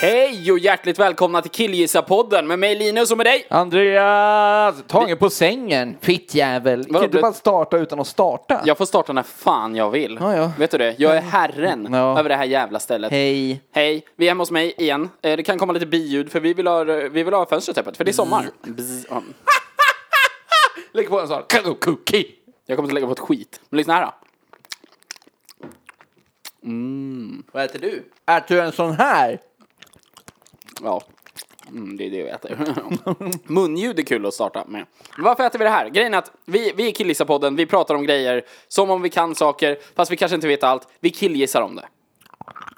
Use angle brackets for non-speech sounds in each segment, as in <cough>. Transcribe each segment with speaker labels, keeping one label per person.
Speaker 1: Hej och hjärtligt välkomna till Killgissa-podden med mig Linus och med dig.
Speaker 2: Andreas! Tagen på sängen! Fittjävel!
Speaker 1: Vadå,
Speaker 2: Kan du
Speaker 1: blev-
Speaker 2: bara starta utan att starta?
Speaker 1: Jag får starta när fan jag vill.
Speaker 2: Ja, ja.
Speaker 1: Vet du det? Jag är herren
Speaker 2: Ja.
Speaker 1: över det här jävla stället.
Speaker 2: Hej!
Speaker 1: Hej, vi är hemma hos mig igen. Eh, Det kan komma lite biljud för vi vill ha, vi vill ha fönstret öppet för det är sommar. Bzz. <laughs> Ja.
Speaker 2: Lägg på en sån. Kado cookie!
Speaker 1: Jag kommer inte lägga på ett skit. Men lyssna här då.
Speaker 2: Vad äter du? Äter du en sån här?
Speaker 1: Ja. Mm, det är det jag äter. <laughs> Munljud är kul att starta med. Men Varför äter vi det här? Grejen är att vi, vi är Killgissa-podden, vi pratar om grejer som om vi kan saker, fast vi kanske inte vet allt. Vi killgissar om det.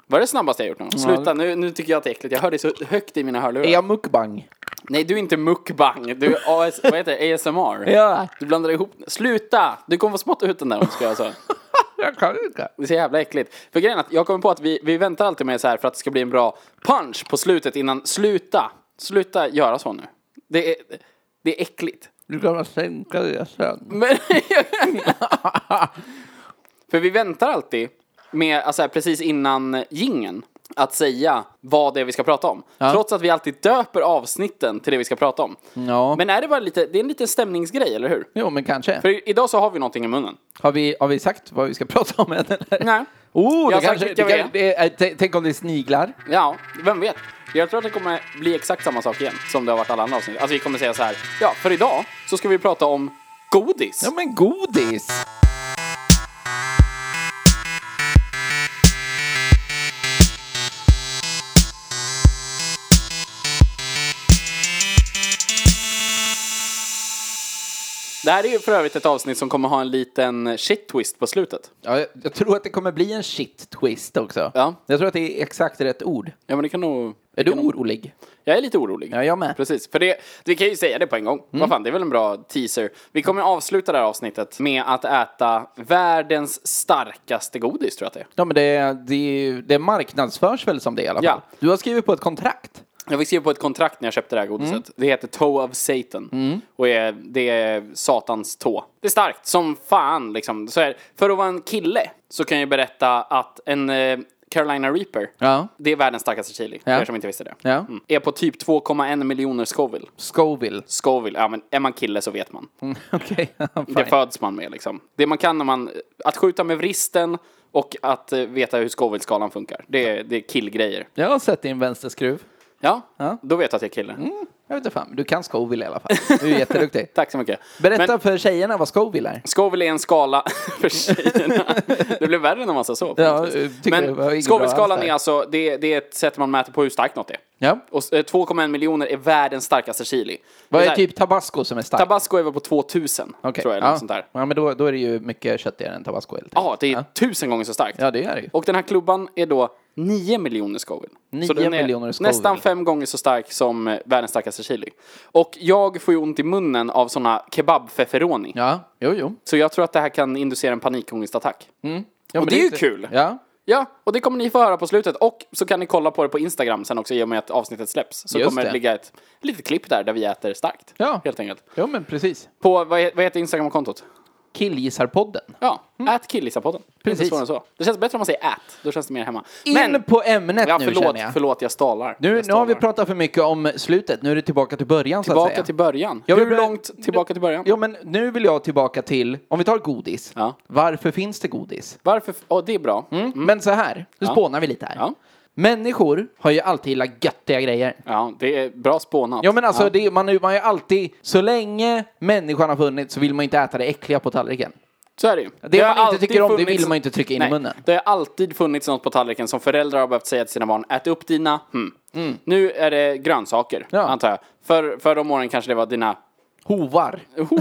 Speaker 1: Var det snabbaste jag gjort någon? Sluta, nu, nu tycker jag att det är äckligt. Jag hör det så högt i mina hörlurar.
Speaker 2: Är jag mukbang?
Speaker 1: Nej, du är inte mukbang. Du är AS, vad heter det? ASMR.
Speaker 2: Ja.
Speaker 1: Du blandar ihop. Sluta! Du kommer få spotta ut den där om du ska göra så.
Speaker 2: Jag kan inte.
Speaker 1: Det är så jävla äckligt. För grejen är att jag kommer på att vi, vi väntar alltid med så här för att det ska bli en bra punch på slutet innan sluta. Sluta göra så nu. Det är, det är äckligt.
Speaker 2: Du kan bara sänka det sen.
Speaker 1: Men <laughs> för vi väntar alltid med, alltså här, precis innan gingen att säga vad det är vi ska prata om. Trots att vi alltid döper avsnitten till det vi ska prata om.
Speaker 2: Ja.
Speaker 1: Men är det bara lite, det är en liten stämningsgrej, eller hur?
Speaker 2: Jo, men kanske.
Speaker 1: För idag så har vi någonting i munnen.
Speaker 2: Har vi, har vi sagt vad vi ska <laughs> prata om än eller?
Speaker 1: Nej.
Speaker 2: Oh,
Speaker 1: Jag har
Speaker 2: det
Speaker 1: sagt
Speaker 2: kanske...
Speaker 1: vilka
Speaker 2: Det
Speaker 1: vi
Speaker 2: kan, det är, eh, t- tänk om det är sniglar?
Speaker 1: Ja, vem vet? Jag tror att det kommer bli exakt samma sak igen som det har varit alla andra avsnitt. Alltså vi kommer säga så här, ja, för idag så ska vi prata om godis.
Speaker 2: Ja, men godis!
Speaker 1: Det här är ju för övrigt ett avsnitt som kommer ha en liten shit twist på slutet.
Speaker 2: Ja, jag, jag tror att det kommer bli en shit twist också.
Speaker 1: Ja.
Speaker 2: Jag tror att det är exakt rätt ord.
Speaker 1: Ja, men det kan nog...
Speaker 2: Är du orolig?
Speaker 1: Jag är lite orolig.
Speaker 2: Ja, Mm. jag med.
Speaker 1: Precis, för det, vi kan ju säga det på en gång. Vad fan, det är väl en bra teaser. Vi kommer avsluta det här avsnittet med att äta världens starkaste godis, tror jag att det är.
Speaker 2: Ja men det, det, det marknadsförs väl som det i alla fall?
Speaker 1: Ja.
Speaker 2: Du har skrivit på ett kontrakt.
Speaker 1: Jag fick skriva på ett kontrakt när jag köpte det här godiset.
Speaker 2: Mm.
Speaker 1: Det heter Toe of Satan. Och är, det är Satans tå. Det är starkt som fan liksom. Så här, för att vara en kille så kan jag berätta att en eh, Carolina Reaper,
Speaker 2: Ja.
Speaker 1: det är världens starkaste chili. För
Speaker 2: Ja.
Speaker 1: er som inte visste det.
Speaker 2: Ja.
Speaker 1: Mm. Är på typ 2,1 miljoner Scoville.
Speaker 2: Scoville.
Speaker 1: Scoville, ja men är man kille så vet man.
Speaker 2: Mm, <laughs> Okej.
Speaker 1: Det
Speaker 2: Okay.
Speaker 1: föds man med liksom. Det man kan när man, att skjuta med vristen och att eh, veta hur Scoville-skalan funkar. Det är, det är killgrejer.
Speaker 2: jag har sett din vänsterskruv.
Speaker 1: Ja,
Speaker 2: Ja. Mm.
Speaker 1: då vet jag att jag är kille.
Speaker 2: Jag vet inte fan, men du kan Scoville i alla fall.
Speaker 1: <laughs>
Speaker 2: Du är jätteduktig.
Speaker 1: Tack så mycket.
Speaker 2: Berätta
Speaker 1: Men-
Speaker 2: för tjejerna vad Scoville är.
Speaker 1: Scoville är en skala <laughs> för tjejerna. Det blev värre när man sa så. på
Speaker 2: Ja,
Speaker 1: något vis.
Speaker 2: jag tycker det var
Speaker 1: Men
Speaker 2: inget bra
Speaker 1: Scoville-skalan
Speaker 2: alls där.
Speaker 1: är alltså, det, det är ett sätt man mäter på hur starkt något är.
Speaker 2: Ja.
Speaker 1: Och eh, 2,1 miljoner är världens starkaste chili.
Speaker 2: Vad
Speaker 1: Det
Speaker 2: är
Speaker 1: här-
Speaker 2: typ tabasco som är starkt?
Speaker 1: Tabasco är väl på 2000,
Speaker 2: Okej,
Speaker 1: tror jag. eller
Speaker 2: Ja.
Speaker 1: något sånt där.
Speaker 2: ja men då, då är det ju mycket köttigare än tabasco helt
Speaker 1: Ja, det är
Speaker 2: Ja.
Speaker 1: tusen gånger så starkt.
Speaker 2: Ja det är det ju.
Speaker 1: Och den här klubban är då 9 miljoner Scoville.
Speaker 2: Nio
Speaker 1: Så den är
Speaker 2: miljoner Scoville.
Speaker 1: Nästan fem gånger så stark som eh, världens starkaste chili. Och jag får ju ont i munnen av såna kebab-feferoni.
Speaker 2: Ja, jo jo.
Speaker 1: Så jag tror att det här kan inducera en panikångestattack.
Speaker 2: Ja,
Speaker 1: Och
Speaker 2: men
Speaker 1: det är ju
Speaker 2: inte-
Speaker 1: kul.
Speaker 2: Ja.
Speaker 1: Ja, och det kommer ni få höra på slutet. Och så kan ni kolla på det på Instagram sen också i och med att avsnittet släpps. Så
Speaker 2: Just
Speaker 1: kommer det
Speaker 2: det.
Speaker 1: ligga ett litet klipp där, där vi äter starkt.
Speaker 2: Ja.
Speaker 1: Helt enkelt.
Speaker 2: Jo men precis.
Speaker 1: På, vad, he- vad heter Instagram-kontot?
Speaker 2: Killgissarpodden.
Speaker 1: Ja, ät killgissapodden. Inte
Speaker 2: Mm. Precis.
Speaker 1: svårare än så. Det känns bättre om man säger ät, då känns det mer hemma.
Speaker 2: In på ämnet
Speaker 1: ja,
Speaker 2: nu
Speaker 1: förlåt,
Speaker 2: känner jag.
Speaker 1: förlåt, jag stalar.
Speaker 2: Nu,
Speaker 1: jag
Speaker 2: nu har vi
Speaker 1: stalar.
Speaker 2: pratat för mycket om slutet, nu är det tillbaka till början så att
Speaker 1: Tillbaka
Speaker 2: säga.
Speaker 1: till början.
Speaker 2: Jag vill
Speaker 1: Hur
Speaker 2: börja-
Speaker 1: långt tillbaka till början?
Speaker 2: Jo, men nu vill jag tillbaka till, om vi tar godis.
Speaker 1: Ja.
Speaker 2: Varför finns det godis?
Speaker 1: Varför? f- Åh, det är bra.
Speaker 2: Mm. Men så här, nu spånar vi lite här.
Speaker 1: Ja.
Speaker 2: Människor har ju alltid gillat göttiga grejer.
Speaker 1: Ja, det är bra spånat.
Speaker 2: Ja men alltså, det, man, är- man har ju alltid, så länge människan har funnits så vill man inte äta det äckliga på tallriken.
Speaker 1: Så är det ju. Det,
Speaker 2: man
Speaker 1: har
Speaker 2: inte
Speaker 1: alltid
Speaker 2: tycker om, det vill man inte trycka in i
Speaker 1: Nej,
Speaker 2: munnen.
Speaker 1: Det har alltid funnits något på tallriken som föräldrar har behövt säga till sina barn. Ät upp dina. Hmm. Nu är det grönsaker,
Speaker 2: Mm. Ja.
Speaker 1: antar jag. För, för de åren kanske det var <laughs> dina...
Speaker 2: Hovar.
Speaker 1: Oh,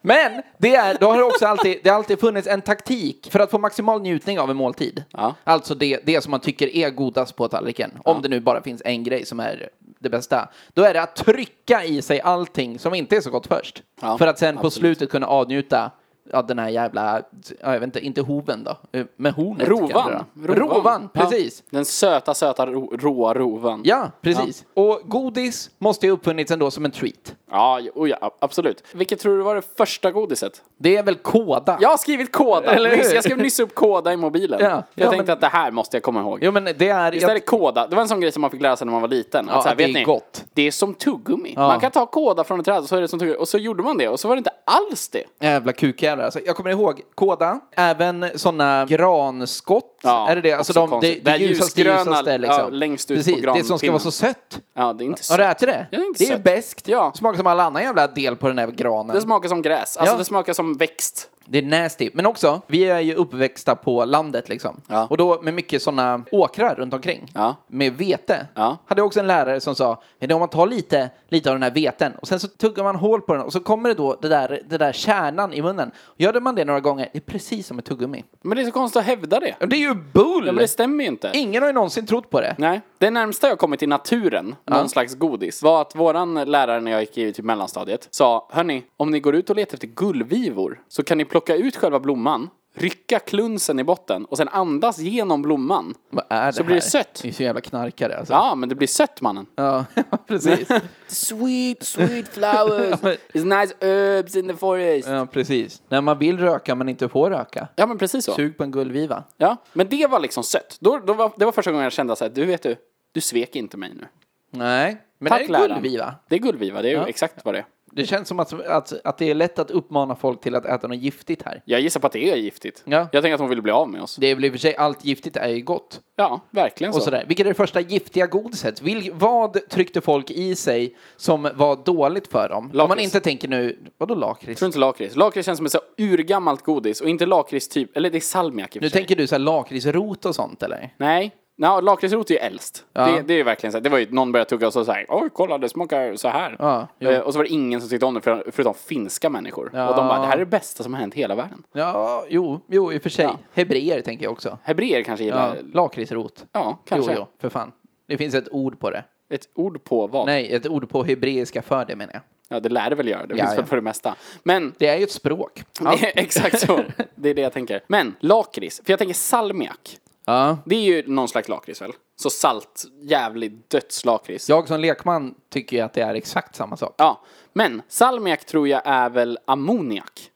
Speaker 2: Men Men det, är, då har det också alltid, det har alltid funnits en taktik för att få maximal njutning av en måltid.
Speaker 1: Ja.
Speaker 2: Alltså det, det som man tycker är godast på tallriken. Om det nu bara finns en grej som är det bästa. Då är det att trycka i sig allting som inte är så gott först.
Speaker 1: Ja,
Speaker 2: för att sen på
Speaker 1: absolut.
Speaker 2: slutet kunna avnjuta ja, den här jävla, ja, jag vet inte, inte hoven då, eh, men hornet. kanske
Speaker 1: Rovan.
Speaker 2: då. Rovan, precis.
Speaker 1: Ja. Den söta, söta ro, råa rovan.
Speaker 2: Ja, precis. Och godis måste ju ha uppfunnits ändå som en treat.
Speaker 1: Ja, jo, oh ja, absolut. Vilket tror du var det första godiset?
Speaker 2: Det är väl kåda?
Speaker 1: Jag har skrivit kåda.
Speaker 2: Eller hur?
Speaker 1: Nyss, jag skrev nyss upp kåda i mobilen.
Speaker 2: Ja.
Speaker 1: Jag
Speaker 2: Ja,
Speaker 1: tänkte
Speaker 2: men-
Speaker 1: att det här måste jag komma ihåg.
Speaker 2: Jo men det är...
Speaker 1: Visst är det kåda? Det var en sån grej som man fick lära sig när man var liten.
Speaker 2: Ja,
Speaker 1: så här,
Speaker 2: att det
Speaker 1: vet
Speaker 2: är
Speaker 1: ni,
Speaker 2: gott.
Speaker 1: Det är som tuggummi. Man kan ta kåda från ett träd och så är det som tuggummi. Och så gjorde man det och så var det inte alls det.
Speaker 2: Jävla kukjävlar alltså. Jag kommer ihåg kåda, även sådana granskott.
Speaker 1: Ja,
Speaker 2: är det det? Alltså
Speaker 1: också
Speaker 2: de, det,
Speaker 1: konstigt.
Speaker 2: det
Speaker 1: Det här
Speaker 2: ljusaste,
Speaker 1: ljusgröna,
Speaker 2: ljusaste liksom.
Speaker 1: ja, längst ut på
Speaker 2: Precis, det som ska
Speaker 1: granpinnen.
Speaker 2: vara så sött.
Speaker 1: Ja, det är inte så.
Speaker 2: Har du ätit det?
Speaker 1: Ja, det är inte
Speaker 2: det är ju
Speaker 1: sött.
Speaker 2: beskt.
Speaker 1: Ja.
Speaker 2: Smakar som all annan jävla del på den här granen.
Speaker 1: Det smakar som gräs. Alltså
Speaker 2: Ja.
Speaker 1: det smakar som växt.
Speaker 2: Det är nasty. Men också, vi är ju uppväxta på landet liksom.
Speaker 1: Ja.
Speaker 2: Och då med mycket sådana åkrar runt omkring.
Speaker 1: Ja.
Speaker 2: Med vete.
Speaker 1: Ja.
Speaker 2: Hade jag också en lärare som sa, men om man tar lite, lite av den här veten och sen så tuggar man hål på den och så kommer det då det där, det där kärnan i munnen. Gör man det några gånger, det är precis som ett tuggummi.
Speaker 1: Men det är så konstigt att hävda det.
Speaker 2: Och det är ju bull!
Speaker 1: Ja, men det stämmer ju inte.
Speaker 2: Ingen har ju någonsin trott på det.
Speaker 1: Nej. Det närmsta jag kommit i naturen, någon slags godis, var att våran lärare när jag gick i typ mellanstadiet sa, hörni, om ni går ut och letar efter gullvivor så kan ni plocka ut själva blomman, rycka klunsen i botten och sen andas genom blomman.
Speaker 2: Vad är det
Speaker 1: Så blir det
Speaker 2: här?
Speaker 1: sött.
Speaker 2: Det är så jävla knarkare alltså.
Speaker 1: Ja, men det blir sött mannen.
Speaker 2: Ja, <laughs> precis.
Speaker 1: Sweet,
Speaker 2: <laughs>
Speaker 1: sweet flowers. It's nice herbs in the forest.
Speaker 2: ja, precis. När man vill röka men inte får röka.
Speaker 1: Ja, men precis så.
Speaker 2: Sug på en gullviva.
Speaker 1: Ja, men det var liksom sött. Då, då var, det var första gången jag kände så här, du vet du, du svek inte mig nu.
Speaker 2: Nej, men
Speaker 1: Tack,
Speaker 2: det är
Speaker 1: läraren.
Speaker 2: gullviva.
Speaker 1: Det är gullviva, det är ju exakt vad det är.
Speaker 2: Det känns som att, att, att det är lätt att uppmana folk till att äta något giftigt här.
Speaker 1: Jag gissar på att det är giftigt.
Speaker 2: Ja.
Speaker 1: Jag tänker att hon ville bli av med oss.
Speaker 2: Det är väl i och för sig, allt giftigt är ju gott.
Speaker 1: Ja, verkligen så.
Speaker 2: Och sådär. Vilket är det första giftiga godiset? Vil, vad tryckte folk i sig som var dåligt för dem? Om man
Speaker 1: Lakrits.
Speaker 2: inte tänker nu, vadå lakrits?
Speaker 1: Tror inte lakrits. Lakrits känns som ett så urgammalt godis och inte lakrits typ, eller det är salmiak i och
Speaker 2: Nu
Speaker 1: för sig.
Speaker 2: tänker du så här lakritsrot och sånt eller?
Speaker 1: Nej. Ja, lakritsrot är ju äldst. Det, det är ju verkligen så här. Det var ju någon började tugga och så såhär, oj kolla det smakar så här.
Speaker 2: Ja, jo.
Speaker 1: Eh, och så var det ingen som tyckte om det för- förutom finska människor. Och de bara, det här är det bästa som har hänt i hela världen.
Speaker 2: Ja, jo, jo i och för sig. Hebreer tänker jag också.
Speaker 1: Hebreer kanske
Speaker 2: Ja,
Speaker 1: gillar, ja,
Speaker 2: lakritsrot. Jo,
Speaker 1: kanske.
Speaker 2: jo, för fan. Det finns ett ord på det.
Speaker 1: Ett ord på vad?
Speaker 2: Nej, ett ord på hebreiska för det menar jag.
Speaker 1: Ja, det lär det väl göra. Det
Speaker 2: Ja,
Speaker 1: finns väl
Speaker 2: ja.
Speaker 1: för det mesta. Men
Speaker 2: Det är ju ett språk.
Speaker 1: <laughs> Exakt så. Det är det jag tänker. Men lakrits, för jag tänker salmiak.
Speaker 2: Ja.
Speaker 1: Det är ju någon slags lakrits väl? Så salt, jävligt dödslakrits.
Speaker 2: Jag som lekman tycker ju att det är exakt samma sak.
Speaker 1: Ja. Men salmiak tror jag är väl ammoniak.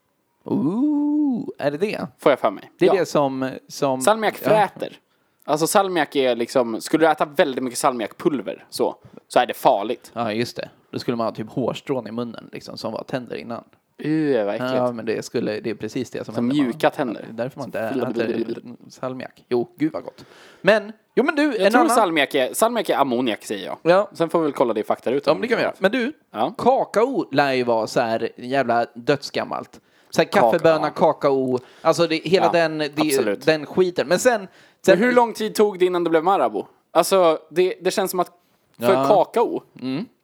Speaker 2: Ooh, är det det?
Speaker 1: Får jag för mig.
Speaker 2: Det är
Speaker 1: ja.
Speaker 2: det som... som
Speaker 1: Salmiak
Speaker 2: ja.
Speaker 1: fräter. Alltså salmiak är liksom, skulle du äta väldigt mycket salmiakpulver så, så är det farligt.
Speaker 2: Ja, just det. Då skulle man ha typ hårstrån i munnen liksom, som var tänder innan.
Speaker 1: Uh, vad äckligt.
Speaker 2: Ja, men det, skulle, det är precis det som
Speaker 1: Som
Speaker 2: händer.
Speaker 1: mjuka tänder.
Speaker 2: Det är därför man inte äter salmiak. Jo, gud vad gott. Men, jo men du,
Speaker 1: Jag
Speaker 2: en
Speaker 1: tror
Speaker 2: annan...
Speaker 1: salmiak är, salmiak är ammoniak säger jag.
Speaker 2: Ja.
Speaker 1: Sen får vi väl kolla det i faktarutan.
Speaker 2: Ja, men det kan vi göra. Men du,
Speaker 1: Ja.
Speaker 2: kakao lär ju vara så här jävla dödsgammalt. Så här kaffeböna, kakao, alltså det, hela
Speaker 1: Ja,
Speaker 2: den, det,
Speaker 1: absolut.
Speaker 2: den skiten. Men sen... sen
Speaker 1: Men hur lång tid tog det innan det blev Marabou? Alltså, det, det känns som att för
Speaker 2: Ja. Mm.
Speaker 1: kakao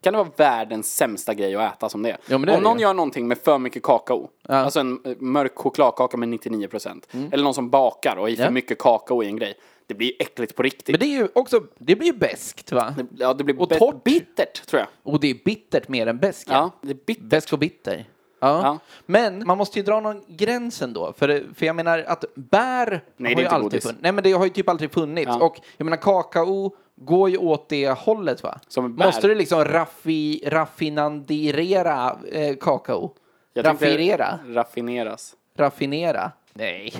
Speaker 1: kan det vara världens sämsta grej att äta som det är.
Speaker 2: Ja, men det är
Speaker 1: Om
Speaker 2: det
Speaker 1: någon
Speaker 2: ju.
Speaker 1: gör någonting med för mycket kakao, alltså en eh, mörk chokladkaka med 99%, eller någon som bakar och har i för
Speaker 2: Mm. Ja.
Speaker 1: mycket kakao i en grej, det blir ju äckligt på riktigt.
Speaker 2: Men det är ju också, det blir ju beskt va?
Speaker 1: ja, det blir
Speaker 2: och
Speaker 1: bet-
Speaker 2: torrt.
Speaker 1: bittert, tror jag.
Speaker 2: Och det är bittert mer än beskt.
Speaker 1: Ja, det är bittert.
Speaker 2: Besk och bitter. Ja.
Speaker 1: Ja.
Speaker 2: Men man måste ju dra någon gräns ändå. För, för jag menar att bär
Speaker 1: det är
Speaker 2: har ju
Speaker 1: inte
Speaker 2: alltid
Speaker 1: godis.
Speaker 2: funnits. Nej men det har ju typ aldrig funnits.
Speaker 1: Ja.
Speaker 2: Och jag menar kakao går ju åt det hållet va?
Speaker 1: Som ett bär.
Speaker 2: måste du liksom raffi, raffinandirera eh, kakao?
Speaker 1: Jag tänkte
Speaker 2: Raffinera?
Speaker 1: Raffineras.
Speaker 2: Raffinera? Nej.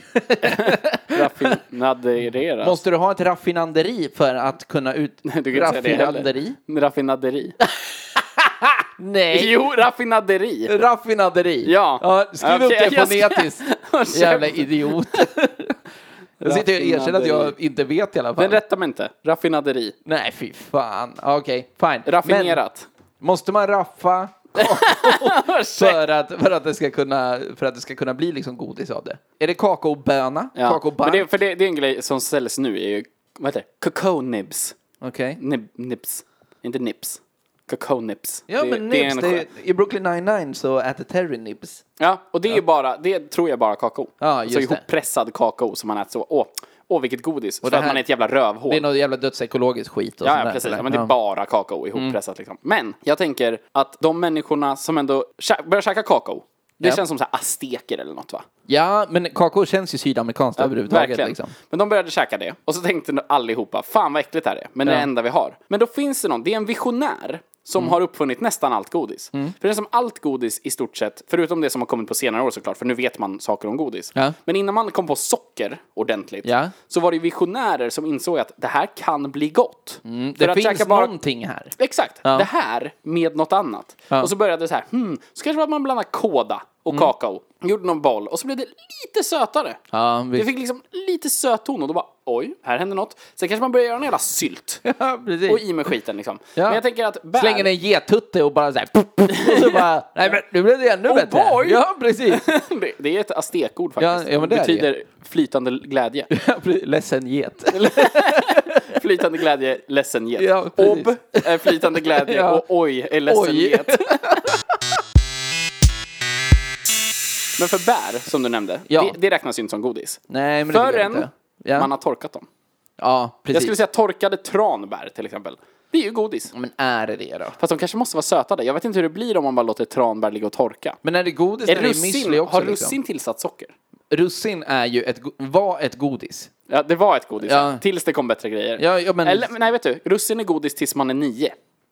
Speaker 2: <laughs>
Speaker 1: Raffinadereras.
Speaker 2: måste du ha ett raffinaderi för att kunna ut...
Speaker 1: <laughs> Du kan inte säga det heller.
Speaker 2: raffinaderi?
Speaker 1: Raffinaderi.
Speaker 2: Nej.
Speaker 1: <laughs> Jo,
Speaker 2: <laughs>
Speaker 1: raffinaderi.
Speaker 2: Raffinaderi.
Speaker 1: Ja.
Speaker 2: skriv
Speaker 1: Okej,
Speaker 2: upp det
Speaker 1: <laughs> jag ska-
Speaker 2: fonetiskt.
Speaker 1: Ursäkta.
Speaker 2: Jävla
Speaker 1: <laughs>
Speaker 2: idiot. jag sitter och erkänner att jag
Speaker 1: Raffinaderi.
Speaker 2: inte vet i alla fall.
Speaker 1: Den rättar mig inte. Raffinaderi.
Speaker 2: Nej, fy fan. Ja, Okej, fine.
Speaker 1: Raffinerat.
Speaker 2: Men måste man
Speaker 1: <laughs>
Speaker 2: raffa för att, för, att det ska kunna, för att det ska kunna bli liksom godis av det? Är det kakaoböna?
Speaker 1: Ja.
Speaker 2: Kakaobark?
Speaker 1: Men det, för det, det är en grej som säljs nu, är ju, vad heter det? Cocoa nibs.
Speaker 2: Okej.
Speaker 1: Nib, nibs. Inte nips. Cacao nips.
Speaker 2: Ja,
Speaker 1: Det-
Speaker 2: men
Speaker 1: det är
Speaker 2: nibs.
Speaker 1: en
Speaker 2: Det är
Speaker 1: skön-
Speaker 2: I Brooklyn 99 så äter Terry nibs.
Speaker 1: Ja, och det är ju bara, det tror jag bara kakao.
Speaker 2: Ja, just
Speaker 1: så
Speaker 2: det.
Speaker 1: ihoppressad kakao som man äter så, åh, åh vilket godis. Och
Speaker 2: det
Speaker 1: för att
Speaker 2: här-
Speaker 1: man är ett jävla rövhål.
Speaker 2: Det är något jävla dödsekologiskt skit och
Speaker 1: Ja,
Speaker 2: sånt
Speaker 1: ja
Speaker 2: där,
Speaker 1: precis.
Speaker 2: eller? Mm.
Speaker 1: Ja, men det är bara kakao ihoppressat liksom. Men jag tänker att de människorna som ändå kä- börjar käka kakao, det
Speaker 2: Ja.
Speaker 1: känns som så här azteker eller något va?
Speaker 2: Ja, men kakao känns ju sydamerikanskt överhuvudtaget.
Speaker 1: Verkligen.
Speaker 2: Liksom.
Speaker 1: Men de började käka det och så tänkte allihopa, fan vad äckligt det här är, men det är det enda vi har. Men då finns det någon, det är en visionär som
Speaker 2: Mm.
Speaker 1: har uppfunnit nästan allt godis. För det är som allt godis i stort sett, förutom det som har kommit på senare år såklart, för nu vet man saker om godis.
Speaker 2: Ja.
Speaker 1: Men innan man kom på socker ordentligt,
Speaker 2: Ja.
Speaker 1: så var det ju visionärer som insåg att det här kan bli gott. För
Speaker 2: Mm, Det
Speaker 1: att
Speaker 2: finns
Speaker 1: käka bara-
Speaker 2: någonting här.
Speaker 1: Exakt,
Speaker 2: Ja.
Speaker 1: det här med något annat.
Speaker 2: Ja. Mm.
Speaker 1: Och så började det så här, hmm, så kanske det var att man blandade kåda och kakao. Gjorde någon boll och så blev det lite sötare.
Speaker 2: Ja,
Speaker 1: Det
Speaker 2: visst.
Speaker 1: fick liksom lite söt ton och då bara oj, här hände något. Sen kanske man börjar göra en jävla sylt
Speaker 2: Ja, precis.
Speaker 1: och i med skiten liksom.
Speaker 2: <laughs> Ja.
Speaker 1: Men jag tänker att bär...
Speaker 2: Slänger en getutte och bara så här... pop, pop, och så
Speaker 1: <laughs>
Speaker 2: bara, nej men nu blev det ännu
Speaker 1: Oh
Speaker 2: bättre.
Speaker 1: boy!
Speaker 2: Ja, precis.
Speaker 1: det, <laughs> det är ett aztekord faktiskt.
Speaker 2: Ja, ja, men det är det ju.
Speaker 1: betyder flytande glädje.
Speaker 2: Ja, precis. Ledsen get.
Speaker 1: Flytande glädje, ledsen get.
Speaker 2: Ja, precis.
Speaker 1: Ob är flytande glädje
Speaker 2: Ja.
Speaker 1: och oj är ledsen
Speaker 2: Oj.
Speaker 1: get. <laughs> Men för bär, som du nämnde,
Speaker 2: Ja.
Speaker 1: det, det räknas ju inte som godis.
Speaker 2: Nej, men det tycker jag
Speaker 1: Förrän
Speaker 2: inte. Ja.
Speaker 1: man har torkat dem.
Speaker 2: ja, precis.
Speaker 1: Jag skulle säga torkade tranbär till exempel. Det är ju godis.
Speaker 2: Men är det det då?
Speaker 1: Fast de kanske måste vara sötade. Jag vet inte hur det blir om man bara låter tranbär ligga och torka.
Speaker 2: Men är det godis
Speaker 1: Är
Speaker 2: eller är det müsli
Speaker 1: russin,
Speaker 2: också?
Speaker 1: har russin
Speaker 2: liksom?
Speaker 1: tillsatt socker?
Speaker 2: russin är ju ett, go- var ett godis.
Speaker 1: Ja, det var ett godis.
Speaker 2: Ja.
Speaker 1: Tills det kom bättre grejer.
Speaker 2: Ja, ja, men-
Speaker 1: Eller, nej, vet du. Russin är godis tills man är nio.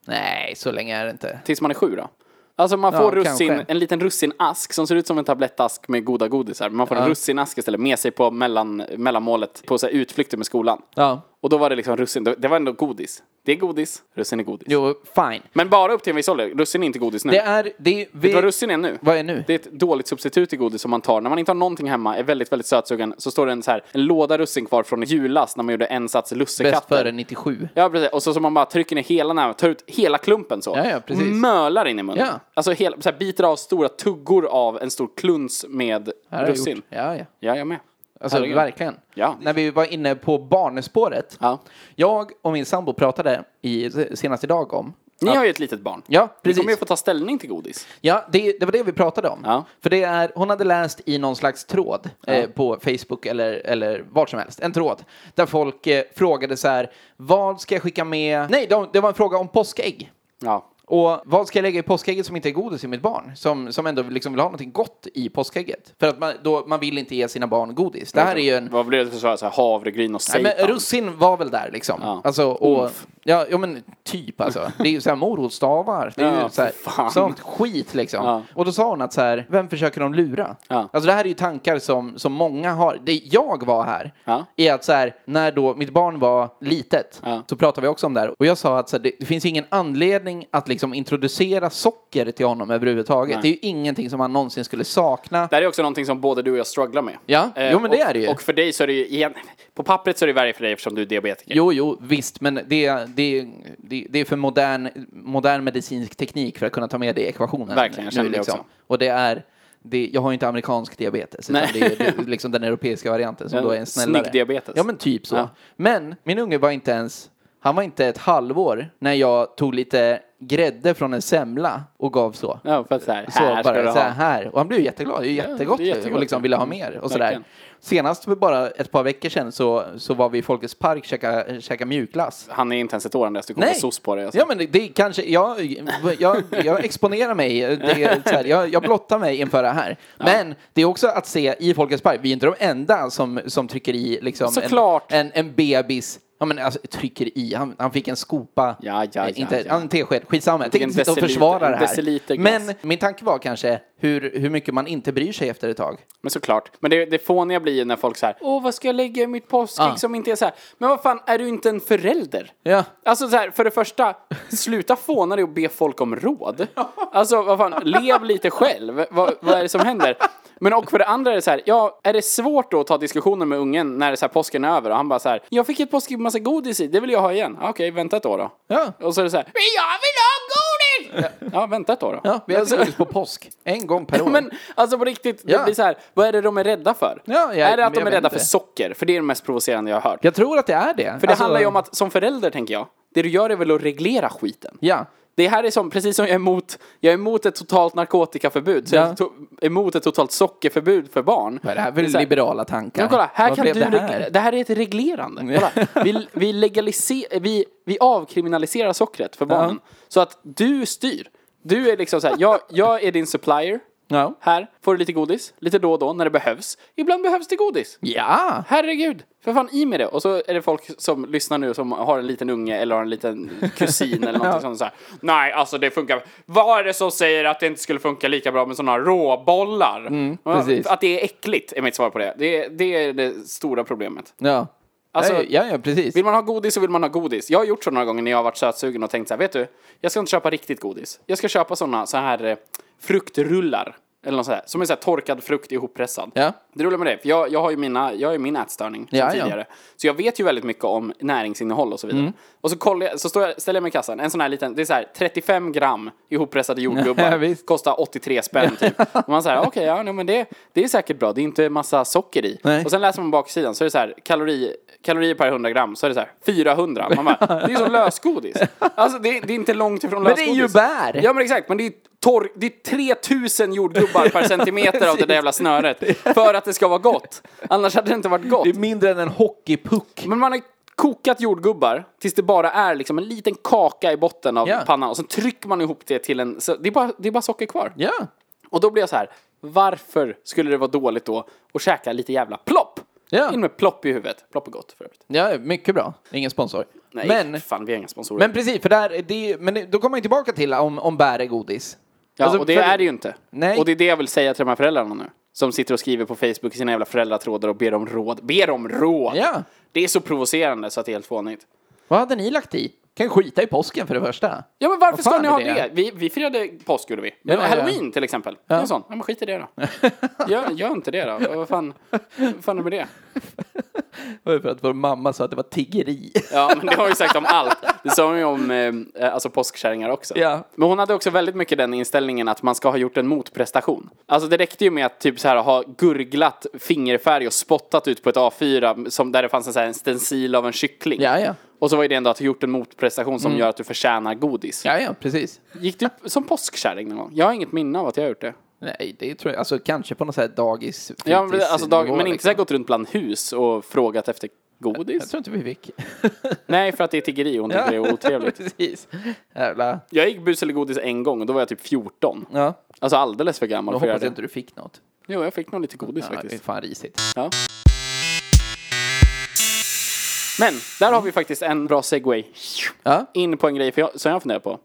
Speaker 2: Nej, så länge är det inte.
Speaker 1: Tills man är sju då. Alltså man
Speaker 2: Ja,
Speaker 1: får russin,
Speaker 2: kanske.
Speaker 1: en liten russinask som ser ut som en tablettask med goda godisar. Men man får en russinask istället med sig på mellan, mellanmålet på så här, utflykter med skolan.
Speaker 2: Ja.
Speaker 1: Och då var det liksom russin. Det var ändå godis. Det är godis. Russin är godis.
Speaker 2: Jo, fine.
Speaker 1: Men bara upp till en viss ålder. Russin är inte godis nu.
Speaker 2: Det är... Det, vi,
Speaker 1: Vet du vad russin är nu?
Speaker 2: Vad är nu?
Speaker 1: Det är ett dåligt substitut till godis som man tar. När man inte har någonting hemma, är väldigt, väldigt sötsugen, så står det en, så här, en låda russin kvar från i julas när man gjorde en sats
Speaker 2: Bäst före
Speaker 1: lussekatter.
Speaker 2: 97.
Speaker 1: Ja, precis. Och så, så man bara trycker ner hela näven, tar ut hela klumpen så.
Speaker 2: Ja, ja, precis.
Speaker 1: Och mölar in i munnen.
Speaker 2: Ja.
Speaker 1: Alltså hela, så här, biter av stora tuggor av en stor kluns med
Speaker 2: Här har jag
Speaker 1: russin.
Speaker 2: gjort. Ja, ja.
Speaker 1: Ja, jag med.
Speaker 2: Alltså
Speaker 1: Herregud.
Speaker 2: verkligen.
Speaker 1: Ja.
Speaker 2: När vi var inne på barnespåret.
Speaker 1: Ja.
Speaker 2: Jag och min sambo pratade i, senast idag om.
Speaker 1: Ni har ju ett litet barn.
Speaker 2: Ja,
Speaker 1: Ni kommer ju
Speaker 2: precis.
Speaker 1: få ta ställning till godis.
Speaker 2: Ja, det, det var det vi pratade om.
Speaker 1: Ja.
Speaker 2: För det är, hon hade läst i någon slags tråd eh, på Facebook eller, eller vart som helst. En tråd. Där folk eh, frågade så här, vad ska jag skicka med? Nej, de, det var en fråga om påskägg.
Speaker 1: Ja.
Speaker 2: Och vad ska jag lägga i påskägget som inte är godis i mitt barn? Som, som ändå liksom vill ha någonting gott i påskägget. För att man, då, man vill inte ge sina barn godis. Det här är ju en...
Speaker 1: Vad blir det för svar? Så här, havregryn
Speaker 2: Nej,
Speaker 1: och seitan?
Speaker 2: men russin var väl där liksom.
Speaker 1: Ja.
Speaker 2: Alltså, och,
Speaker 1: Umf.
Speaker 2: ja, ja, men typ alltså. Det är ju såhär morotsstavar. Det är
Speaker 1: Ja,
Speaker 2: ju såhär,
Speaker 1: för fan.
Speaker 2: sånt skit liksom.
Speaker 1: Ja.
Speaker 2: Och då sa hon att såhär, vem försöker de lura?
Speaker 1: Ja.
Speaker 2: Alltså det här är ju tankar som, som många har. Det jag var här
Speaker 1: Ja.
Speaker 2: är att såhär, när då mitt barn var litet
Speaker 1: Ja.
Speaker 2: så pratade vi också om det här. Och jag sa att så här, det, det finns ingen anledning att liksom introducera socker till honom överhuvudtaget.
Speaker 1: Nej.
Speaker 2: Det är ju ingenting som han någonsin skulle sakna.
Speaker 1: Det här är också någonting som både du och jag strugglar med.
Speaker 2: Ja, jo, men
Speaker 1: och,
Speaker 2: det är det ju.
Speaker 1: Och för dig så är det ju, igen, på pappret så är det värre för dig eftersom du är diabetiker.
Speaker 2: Jo, jo, visst, men det, det, det, det är för modern, modern medicinsk teknik för att kunna ta med det i ekvationen. liksom.
Speaker 1: Verkligen, jag känner det också.
Speaker 2: Och det är, det, jag har ju inte amerikansk diabetes,
Speaker 1: Nej.
Speaker 2: utan det är ju det, liksom den europeiska varianten
Speaker 1: <laughs>
Speaker 2: som
Speaker 1: En
Speaker 2: då är en snällare.
Speaker 1: snygg diabetes.
Speaker 2: Ja, men typ så.
Speaker 1: Ja.
Speaker 2: Men min unge var inte ens, han var inte ett halvår när jag tog lite grädde från en semla och gav så.
Speaker 1: Ja, för att så här,
Speaker 2: Så
Speaker 1: här ska du
Speaker 2: bara så här,
Speaker 1: ha.
Speaker 2: här. Och han blev ju jätteglad. Det är ju jättegott,
Speaker 1: det är jättegott.
Speaker 2: och liksom ville ha mer och sådär.
Speaker 1: Verkligen.
Speaker 2: Senast för bara ett par veckor sedan så, så var vi i Folkets Park och käka, käka mjukglass.
Speaker 1: Han är inte ens ett år än dess, du kommer få sos på dig. Alltså.
Speaker 2: Ja men det, det kanske, jag, jag, jag exponerar mig, det, är så här, jag, jag blottar mig inför det här. Men det är också att se i Folkets Park, vi är inte de enda som, som trycker i liksom en,
Speaker 1: Såklart.
Speaker 2: en, en bebis, ja men alltså trycker i, han, han fick en skopa,
Speaker 1: Ja, ja,
Speaker 2: Nej,
Speaker 1: ja,
Speaker 2: inte,
Speaker 1: ja.
Speaker 2: en tesked, skitsamma, jag
Speaker 1: fick
Speaker 2: tänkte
Speaker 1: en
Speaker 2: inte sitta och
Speaker 1: deciliter-
Speaker 2: försvara det
Speaker 1: en
Speaker 2: här.
Speaker 1: deciliter glass.
Speaker 2: Men min tanke var kanske hur, hur mycket man inte bryr sig efter ett tag.
Speaker 1: Men såklart. Men det, det fåniga blir ju när folk så här, åh vad ska jag lägga i mitt påskägg
Speaker 2: Ah.
Speaker 1: som inte är så här. Men vad fan, är du inte en förälder?
Speaker 2: Ja.
Speaker 1: Alltså så här, för det första, sluta fåna dig och be folk
Speaker 2: <laughs>
Speaker 1: om råd. Alltså vad fan, lev lite själv. Vad, vad är det som händer? Men och för det andra är det så här, ja, är det svårt då att ta diskussioner med ungen när det är så här, påsken är över och han bara så här, jag fick ett påskägg med massa godis i, det vill jag ha igen. Ja, Okej, vänta ett år då.
Speaker 2: Ja.
Speaker 1: Och så är det så här, men jag vill ha godis! Ja, ja vänta ett år då.
Speaker 2: Ja, vi äter
Speaker 1: Alltså,
Speaker 2: godis på påsk. En gång
Speaker 1: <laughs>
Speaker 2: per år.
Speaker 1: men alltså på riktigt, det
Speaker 2: Ja.
Speaker 1: blir så här, vad är det de är rädda för?
Speaker 2: Ja, jag-
Speaker 1: är det att de
Speaker 2: jag
Speaker 1: är
Speaker 2: vet
Speaker 1: rädda
Speaker 2: inte.
Speaker 1: för socker? För det är det mest provocerande jag har hört.
Speaker 2: Jag tror att det Alltså- är det.
Speaker 1: För det handlar ju om att som förälder tänker jag, det du gör är väl att reglera skiten.
Speaker 2: Ja.
Speaker 1: Det här är som, precis som jag är emot, jag är emot ett totalt narkotikaförbud, så
Speaker 2: Ja.
Speaker 1: jag är to- emot ett totalt sockerförbud för barn.
Speaker 2: Vad är det här för
Speaker 1: så här-
Speaker 2: liberala tankar?
Speaker 1: Men kolla, här
Speaker 2: Vad
Speaker 1: kan du
Speaker 2: blev
Speaker 1: det,
Speaker 2: det här?
Speaker 1: det här är ett reglerande. Kolla, vi, vi, legaliser, vi, vi avkriminaliserar sockret för barnen. Så att du styr. Du är liksom så här, jag, jag är din supplier.
Speaker 2: Ja.
Speaker 1: Här får du lite godis, lite då och då när det behövs. Ibland behövs det godis.
Speaker 2: ja.
Speaker 1: Herregud, för fan i med det. Och så är det folk som lyssnar nu som har en liten unge eller har en liten kusin eller någonting sånt så här. Nej, alltså det funkar. Vad är det som säger att det inte skulle funka lika bra med sådana råbollar?
Speaker 2: precis.
Speaker 1: Att det är äckligt är mitt svar på det. Det, det är det stora problemet.
Speaker 2: Ja.
Speaker 1: Alltså-
Speaker 2: ja, ja, ja, precis.
Speaker 1: Vill man ha godis så vill man ha godis. Jag har gjort så några gånger när jag har varit sötsugen och tänkt så här, vet du, jag ska inte köpa riktigt godis. Jag ska köpa sådana så här eh, fruktrullar. Eller något sånt här, som är så här torkad frukt ihoppressad.
Speaker 2: Ja.
Speaker 1: Det roliga med det, för jag, jag har ju mina, jag har ju min ätstörning
Speaker 2: Ja, ja. Mm.
Speaker 1: sedan tidigare. Så jag vet ju väldigt mycket om näringsinnehåll och så vidare. Och så, kollar jag, så står jag, ställer jag mig i kassan, en sån här liten, det är så här 35 gram ihoppressade
Speaker 2: <laughs> Ja,
Speaker 1: jordgubbar.
Speaker 2: visst.
Speaker 1: kostar 83 spänn typ. Och man säger okej, ja, nej, men det, det är säkert bra, det är inte massa socker i.
Speaker 2: Nej.
Speaker 1: Och sen läser man baksidan så är det så här, kalori, kalorier per 100 gram, så är det så här 400. Man bara, det är
Speaker 2: <laughs>
Speaker 1: som lösgodis. Alltså det, det är inte långt ifrån
Speaker 2: Men det är
Speaker 1: lösgodis.
Speaker 2: ju bär.
Speaker 1: Ja men exakt, men det är, torr, det är 3000 jordgubbar per centimeter av det där jävla snöret. För att det ska vara gott. Annars hade det inte varit gott.
Speaker 2: Det är mindre än en hockeypuck.
Speaker 1: Men man har kokat jordgubbar tills det bara är liksom en liten kaka i botten av
Speaker 2: Ja.
Speaker 1: pannan och sen trycker man ihop det till en... Så det, är bara, det är bara socker kvar.
Speaker 2: Ja.
Speaker 1: Och då blir jag så här, varför skulle det vara dåligt då att käka lite jävla plopp?
Speaker 2: Ja.
Speaker 1: In med plopp i huvudet. Plopp är gott för övrigt.
Speaker 2: ja, mycket bra. Ingen sponsor.
Speaker 1: Nej,
Speaker 2: men,
Speaker 1: fan vi har inga sponsorer.
Speaker 2: men precis, för där, det, är- men det- då kommer man ju tillbaka till om, om bär är godis.
Speaker 1: ja,
Speaker 2: alltså,
Speaker 1: och det
Speaker 2: för-
Speaker 1: är det ju inte.
Speaker 2: Nej.
Speaker 1: Och det är det jag vill säga till de här föräldrarna nu. Som sitter och skriver på Facebook i sina jävla föräldratrådar och ber om råd. Ber om råd!
Speaker 2: Ja.
Speaker 1: Det är så provocerande så att det är helt fånigt.
Speaker 2: Vad hade ni lagt i? Kan ju skita i påsken för det första.
Speaker 1: Ja men varför ska
Speaker 2: fan
Speaker 1: ni
Speaker 2: är
Speaker 1: ha det?
Speaker 2: det?
Speaker 1: Vi, vi firade påsk gjorde vi. Men
Speaker 2: ja, ja.
Speaker 1: Halloween till exempel. Det är En sån. Ja, men skit i det
Speaker 2: <laughs>
Speaker 1: då. gör, gör inte det då. Vad fan, vad fan är det med det?
Speaker 2: Det var ju för att vår mamma sa att det var tiggeri.
Speaker 1: Ja men det har vi sagt om allt. Det sa hon ju om eh, alltså påskkärringar också.
Speaker 2: Ja.
Speaker 1: Men hon hade också väldigt mycket den inställningen att man ska ha gjort en motprestation. Alltså det räckte ju med att typ så här ha gurglat fingerfärg och spottat ut på ett A4 som, där det fanns en, så här, en stencil av en kyckling.
Speaker 2: <laughs> Ja, ja.
Speaker 1: Och så var ju det ändå att du gjort en motprestation som gör att du förtjänar godis.
Speaker 2: Ja, ja, precis.
Speaker 1: Gick du som påskkärring någon gång? Jag har inget minne av att jag har gjort det.
Speaker 2: Nej, det tror jag. Alltså kanske på något sätt dagis.
Speaker 1: Ja, men,
Speaker 2: fritidsnivå,
Speaker 1: alltså, dag, men inte
Speaker 2: liksom.
Speaker 1: så här gått runt bland hus och frågat efter
Speaker 2: Jag
Speaker 1: godis?
Speaker 2: tror inte vi fick. <laughs>
Speaker 1: Nej, för att det är tiggeri och hon tycker
Speaker 2: Ja.
Speaker 1: det är
Speaker 2: <laughs>
Speaker 1: otrevligt.
Speaker 2: precis. Jävla.
Speaker 1: Jag gick bus eller godis en gång och då var jag typ 14.
Speaker 2: Ja,
Speaker 1: Alltså alldeles för gammal
Speaker 2: då
Speaker 1: för
Speaker 2: hoppas
Speaker 1: att göra
Speaker 2: jag
Speaker 1: det.
Speaker 2: inte du fick något.
Speaker 1: Jo, jag fick nog lite godis
Speaker 2: Ja, det är
Speaker 1: faktiskt.
Speaker 2: fan risigt.
Speaker 1: Ja. Men, där har vi faktiskt en bra segway.
Speaker 2: Ja. Mm.
Speaker 1: In på en grej för jag, som jag funderar på.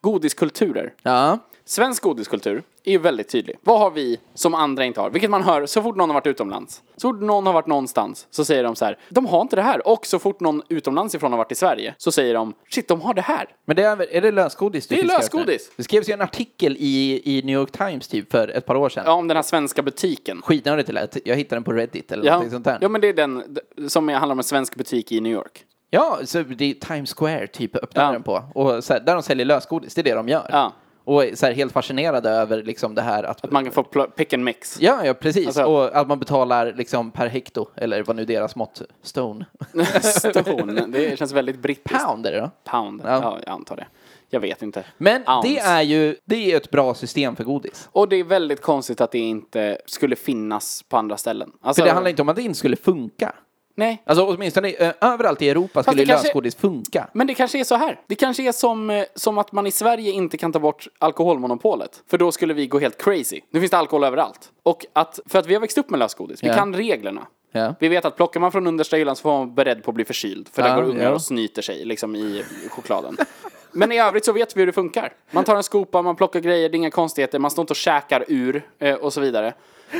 Speaker 1: Godiskulturer.
Speaker 2: Ja.
Speaker 1: Svensk godiskultur är ju väldigt tydlig. Vad har vi som andra inte har? Vilket man hör så fort någon har varit utomlands. Så fort någon har varit någonstans så säger de så här. De har inte det här. Och så fort någon utomlands ifrån har varit i Sverige så säger de. Shit, de har det här.
Speaker 2: Men det är, väl- är det lösgodis du
Speaker 1: Det är
Speaker 2: fiskar
Speaker 1: lösgodis.
Speaker 2: efter? Det skrevs ju en artikel i, i New York Times typ för ett par år sedan.
Speaker 1: Ja, om den här svenska butiken.
Speaker 2: Skitnördigt det lät. Jag hittade den på Reddit eller
Speaker 1: Ja.
Speaker 2: någonting sånt där.
Speaker 1: ja, men det är den d- som är- handlar om en svensk butik i New York.
Speaker 2: Ja, så det är Times Square typ öppnar
Speaker 1: Ja.
Speaker 2: den på. Och så här, där de säljer lösgodis, det är det de gör.
Speaker 1: Ja.
Speaker 2: Och är så här, helt fascinerade över liksom det här att...
Speaker 1: Att man kan få pl- pick and mix.
Speaker 2: Ja, ja, precis.
Speaker 1: Alltså-
Speaker 2: Och att man betalar liksom per hekto, eller vad nu deras mått... Stone.
Speaker 1: <laughs> Stone. Det känns väldigt brittiskt.
Speaker 2: Pound är det då.
Speaker 1: Pound. Ja.
Speaker 2: Ja.
Speaker 1: jag antar det. Jag vet inte.
Speaker 2: Men
Speaker 1: Ounce.
Speaker 2: det är ju det är ett bra system för godis.
Speaker 1: Och det är väldigt konstigt att det inte skulle finnas på andra ställen.
Speaker 2: För
Speaker 1: Alltså,
Speaker 2: det handlar inte om att det inte skulle funka.
Speaker 1: Nej.
Speaker 2: Alltså åtminstone eh, överallt i Europa skulle
Speaker 1: det
Speaker 2: ju
Speaker 1: kanske-
Speaker 2: lösgodis funka.
Speaker 1: Men det kanske är så här. Det kanske är som, eh, som att man i Sverige inte kan ta bort alkoholmonopolet. För då skulle vi gå helt crazy. Nu finns det alkohol överallt. Och att, för att vi har växt upp med lösgodis. Vi
Speaker 2: Ja.
Speaker 1: kan reglerna.
Speaker 2: Ja.
Speaker 1: Vi vet att plockar man från understa hyllan så får man vara beredd på att bli förkyld. För där
Speaker 2: Ja,
Speaker 1: går ungar
Speaker 2: ja.
Speaker 1: och snyter sig liksom i chokladen. <laughs> Men i övrigt så vet vi hur det funkar. Man tar en skopa, man plockar grejer, det är inga konstigheter, man står inte och käkar ur eh, och så vidare.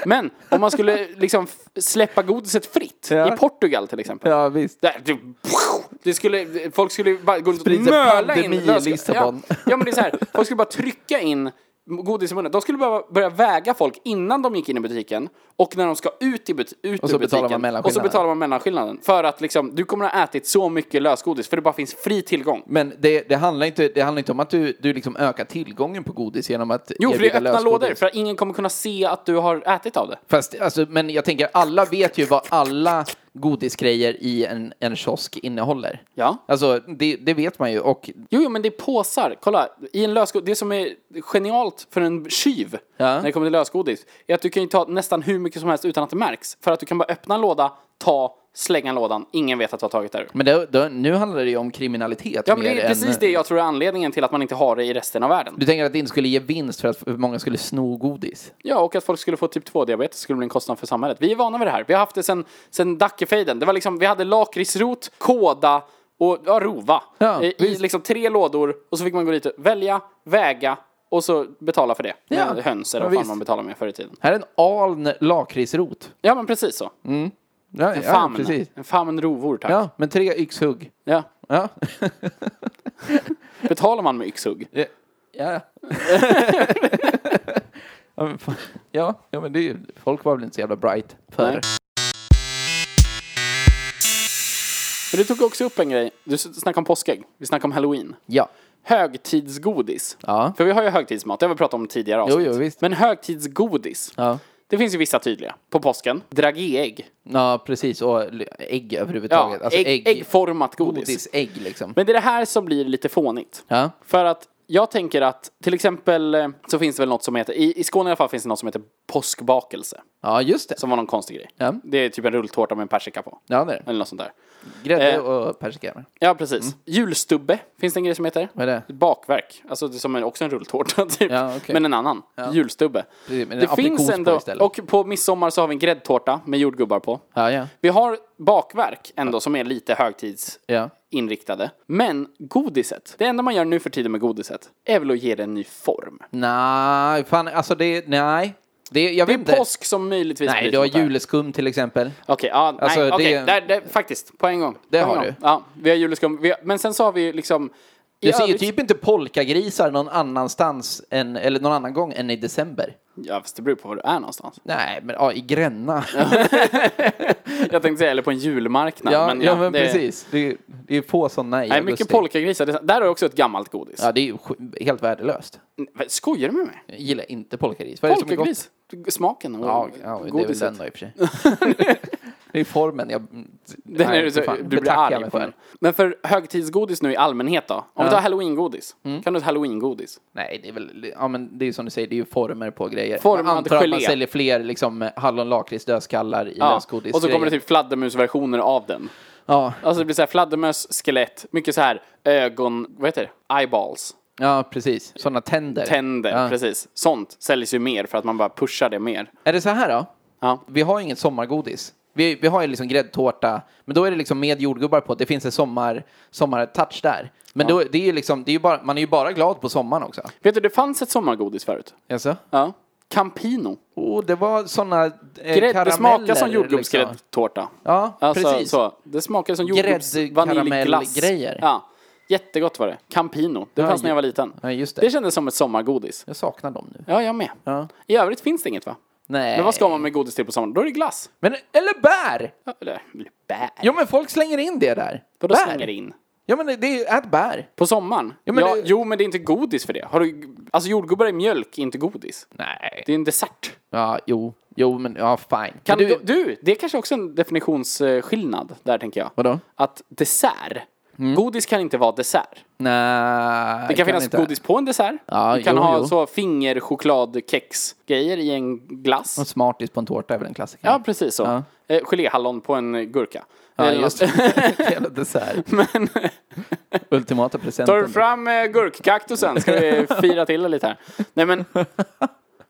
Speaker 1: Men om man skulle liksom f- släppa godiset fritt
Speaker 2: Ja.
Speaker 1: i Portugal till exempel.
Speaker 2: Ja, visst.
Speaker 1: Där, det, det skulle, folk skulle bara gå runt och
Speaker 2: Sprids en
Speaker 1: möla in
Speaker 2: pandemi i
Speaker 1: lösgodis.
Speaker 2: Lissabon.
Speaker 1: Ja, ja men det är så här, folk skulle bara trycka in godis i munnen. De skulle bara börja väga folk innan de gick in i butiken och när de ska ut, i but, ut
Speaker 2: Och så
Speaker 1: ur butiken.
Speaker 2: betalar man
Speaker 1: och så
Speaker 2: mellanskillnaden.
Speaker 1: betalar man mellanskillnaden. För att liksom, du kommer ha ätit så mycket lösgodis för det bara finns fri tillgång.
Speaker 2: Men det, det, handlar inte, det handlar inte om att du, du liksom ökar tillgången på godis genom att
Speaker 1: Jo, för det är
Speaker 2: erbjuda
Speaker 1: öppna
Speaker 2: lösgodis.
Speaker 1: lådor för att ingen kommer kunna se att du har ätit av det.
Speaker 2: Fast, alltså, men jag tänker, alla vet ju vad alla godisgrejer i en, en kiosk innehåller.
Speaker 1: Ja.
Speaker 2: Alltså, det, det vet man ju. Och
Speaker 1: Jo, jo, men det är påsar. Kolla, i en lösgodis. Det som är genialt för en tjuv
Speaker 2: Ja.
Speaker 1: när det kommer till lösgodis är att du kan ju ta nästan hur mycket som helst utan att det märks. För att du kan bara öppna en låda, ta, slänga lådan. Ingen vet att du har tagit där.
Speaker 2: Men det, det, nu handlar det ju om kriminalitet
Speaker 1: Ja, men
Speaker 2: mer
Speaker 1: det är precis
Speaker 2: än...
Speaker 1: det jag tror är anledningen till att man inte har det i resten av världen.
Speaker 2: Du tänker att det inte skulle ge vinst för att för många skulle sno godis?
Speaker 1: Ja, och att folk skulle få typ 2-diabetes skulle bli en kostnad för samhället. Vi är vana vid det här. Vi har haft det sen, sen Dackefejden. Det var liksom, vi hade lakritsrot, kåda och ja, rova.
Speaker 2: Ja,
Speaker 1: I- I
Speaker 2: visst.
Speaker 1: liksom tre lådor och så fick man gå dit och välja, väga och så betala för det.
Speaker 2: Ja,
Speaker 1: Med höns eller
Speaker 2: ja,
Speaker 1: vad fan
Speaker 2: visst.
Speaker 1: man betalar med förr i tiden.
Speaker 2: Här är en aln lakritsrot.
Speaker 1: Ja, men precis så.
Speaker 2: Mm. Ja,
Speaker 1: En
Speaker 2: ja,
Speaker 1: famn.
Speaker 2: precis.
Speaker 1: en famn rovor, tack. Ja.
Speaker 2: Ja, men tre yxhugg. Ja.
Speaker 1: <laughs> Betalar man med yxhugg?
Speaker 2: Ja. <laughs> ja, men fan. ja, ja, men det är ju, folk var väl inte så jävla bright förr.
Speaker 1: Nej. Men du tog också upp en grej. Du s- snackade om påskägg. Vi snackade om halloween.
Speaker 2: Ja.
Speaker 1: Högtidsgodis.
Speaker 2: Ja.
Speaker 1: För vi har ju högtidsmat, det har vi pratat om tidigare avsnitt.
Speaker 2: jo, visst.
Speaker 1: Men högtidsgodis.
Speaker 2: Ja.
Speaker 1: Det finns ju vissa tydliga. På påsken. Dragéägg.
Speaker 2: ja, precis. Och l- ägg överhuvudtaget.
Speaker 1: Ja,
Speaker 2: alltså ägg,
Speaker 1: ägg, äggformat godis.
Speaker 2: godis, ägg liksom.
Speaker 1: Men det är det här som blir lite fånigt.
Speaker 2: Ja.
Speaker 1: För att jag tänker att till exempel eh, så finns det väl något som heter, i, i Skåne i alla fall finns det något som heter påskbakelse.
Speaker 2: Ja, just det.
Speaker 1: Som var någon konstig grej.
Speaker 2: Ja.
Speaker 1: Det är typ en rulltårta med en persika på.
Speaker 2: Ja, det är det.
Speaker 1: Eller något sånt där.
Speaker 2: Grädde
Speaker 1: eh.
Speaker 2: och persika.
Speaker 1: Ja, precis. Julstubbe finns det en grej som heter.
Speaker 2: Mm. Vad är det?
Speaker 1: Ett bakverk. Alltså det är som en, också en rulltårta <laughs> typ.
Speaker 2: Ja, okej.
Speaker 1: Men en annan. Julstubbe.
Speaker 2: Precis, men en
Speaker 1: det finns
Speaker 2: aprikos på
Speaker 1: ändå.
Speaker 2: istället.
Speaker 1: Och på midsommar så har vi en gräddtårta med jordgubbar på.
Speaker 2: Ja, ja.
Speaker 1: Vi har bakverk ändå som är lite högtidsinriktade.
Speaker 2: Ja.
Speaker 1: Men godiset. Det enda man gör nu för tiden med godiset är väl att ge det en ny form.
Speaker 2: Nej, fan alltså det, nej. Det, jag
Speaker 1: Det
Speaker 2: vet inte.
Speaker 1: är påsk som möjligtvis
Speaker 2: Nej,
Speaker 1: blir
Speaker 2: du har
Speaker 1: sånt där.
Speaker 2: juleskum till exempel.
Speaker 1: Okej, ja,
Speaker 2: Alltså,
Speaker 1: nej,
Speaker 2: det-
Speaker 1: okej, där, där, faktiskt, på en gång.
Speaker 2: Det
Speaker 1: på en
Speaker 2: har
Speaker 1: gång.
Speaker 2: du.
Speaker 1: Ja, vi har juleskum, vi har, men sen så har vi ju liksom... i
Speaker 2: Du ser ju
Speaker 1: övrigt-
Speaker 2: typ inte polkagrisar någon annanstans än, eller någon annan gång än i december.
Speaker 1: Ja, fast det beror på var du är någonstans.
Speaker 2: Nej, men <laughs> ja, i Gränna.
Speaker 1: Jag tänkte säga, eller på en julmarknad.
Speaker 2: ja, ja, men
Speaker 1: det,
Speaker 2: precis. Det, är- det är få sådana i
Speaker 1: Nej,
Speaker 2: augusti.
Speaker 1: mycket polkagrisar. Det- Där har jag också ett gammalt godis.
Speaker 2: Ja, det är ju sj- helt värdelöst.
Speaker 1: Vad Skojar du med mig?
Speaker 2: Jag gillar inte polkagris. Vad är det som är gott?
Speaker 1: Polkagris? Smaken och
Speaker 2: Ja, ja, det är väl
Speaker 1: godiset.
Speaker 2: den då i och för sig. det är formen jag...
Speaker 1: <laughs> Den
Speaker 2: nej,
Speaker 1: är du,
Speaker 2: för
Speaker 1: så,
Speaker 2: fan,
Speaker 1: du
Speaker 2: betackar
Speaker 1: blir
Speaker 2: jag
Speaker 1: arg
Speaker 2: mig
Speaker 1: på den. Men för högtidsgodis nu i allmänhet då? Om vi tar halloweengodis.
Speaker 2: Mm.
Speaker 1: Kan du ta halloweengodis?
Speaker 2: Nej, det är väl, ja men det är ju som du säger, det är ju former på grejer.
Speaker 1: Formad
Speaker 2: Man antar att man
Speaker 1: gelé.
Speaker 2: säljer fler liksom hallon, lakrits, dödskallar i
Speaker 1: Ja.
Speaker 2: lösgodis.
Speaker 1: Och så kommer det typ fladdermusversioner av den.
Speaker 2: Ja,
Speaker 1: Alltså det blir så här fladdermöss, skelett, mycket så här ögon, vad heter det? Eyeballs.
Speaker 2: ja precis. Sådana tänder.
Speaker 1: Tänder,
Speaker 2: Ja.
Speaker 1: precis. Sånt säljs ju mer för att man bara pushar det mer.
Speaker 2: Är det så här då?
Speaker 1: Ja.
Speaker 2: Vi har ju inget sommargodis. Vi, vi har ju liksom gräddtårta, men då är det liksom med jordgubbar på. Det finns en sommar, sommartouch där. Men då, det är ju liksom, det är ju bara, man är ju bara glad på sommaren också.
Speaker 1: Vet du, det fanns ett sommargodis förut.
Speaker 2: Jaså?
Speaker 1: Ja. Campino.
Speaker 2: Oh, det var sådana eh,
Speaker 1: Grädde, det smakar
Speaker 2: karameller,
Speaker 1: som
Speaker 2: liksom.
Speaker 1: jordgubbsgräddtårta.
Speaker 2: Ja,
Speaker 1: Alltså,
Speaker 2: precis.
Speaker 1: Så, det smakar som
Speaker 2: Grädde,
Speaker 1: jordgubbsvaniljglass.
Speaker 2: karamellgrejer.
Speaker 1: Ja. Jättegott var det. Campino. Det
Speaker 2: Ja,
Speaker 1: fanns när jag
Speaker 2: ju-
Speaker 1: var liten.
Speaker 2: ja, just det.
Speaker 1: det kändes som ett sommargodis.
Speaker 2: Jag saknar dem nu.
Speaker 1: Ja, jag med.
Speaker 2: Ja.
Speaker 1: I övrigt finns det inget va?
Speaker 2: Nej.
Speaker 1: Men vad ska man med godis till på sommaren? Då är det glass.
Speaker 2: Men, eller bär!
Speaker 1: Ja, Eller eller bär.
Speaker 2: Jo men folk slänger in det där.
Speaker 1: Vadå
Speaker 2: bär.
Speaker 1: slänger in?
Speaker 2: Ja men det är ju, ät bär.
Speaker 1: På sommaren?
Speaker 2: Jo, men
Speaker 1: ja,
Speaker 2: det-
Speaker 1: jo, men det är inte godis för det. Har du... Alltså jordgubbar i mjölk är inte godis.
Speaker 2: Nej.
Speaker 1: Det är en dessert.
Speaker 2: Ja, jo. Jo men, ja fine.
Speaker 1: Kan
Speaker 2: Men
Speaker 1: du... du, det är kanske också en definitionsskillnad där tänker jag.
Speaker 2: Vadå? Mm.
Speaker 1: Att dessert, godis kan inte vara dessert.
Speaker 2: Nej.
Speaker 1: Det kan, finnas
Speaker 2: inte.
Speaker 1: godis på en dessert.
Speaker 2: Ja,
Speaker 1: du kan
Speaker 2: jo,
Speaker 1: ha
Speaker 2: jo.
Speaker 1: så fingerchokladkex-grejer i en glass.
Speaker 2: Och smartis på en tårta är väl en klassiker?
Speaker 1: Ja, precis så.
Speaker 2: Ja.
Speaker 1: Eh, geléhallon på en gurka. Eh,
Speaker 2: Ja,
Speaker 1: Eller
Speaker 2: just
Speaker 1: något.
Speaker 2: det. <laughs> Jävla dessert. Ultimata presenten.
Speaker 1: Tar du fram eh, gurkkaktusen
Speaker 2: <laughs>
Speaker 1: ska vi fira till det lite här. Nej men,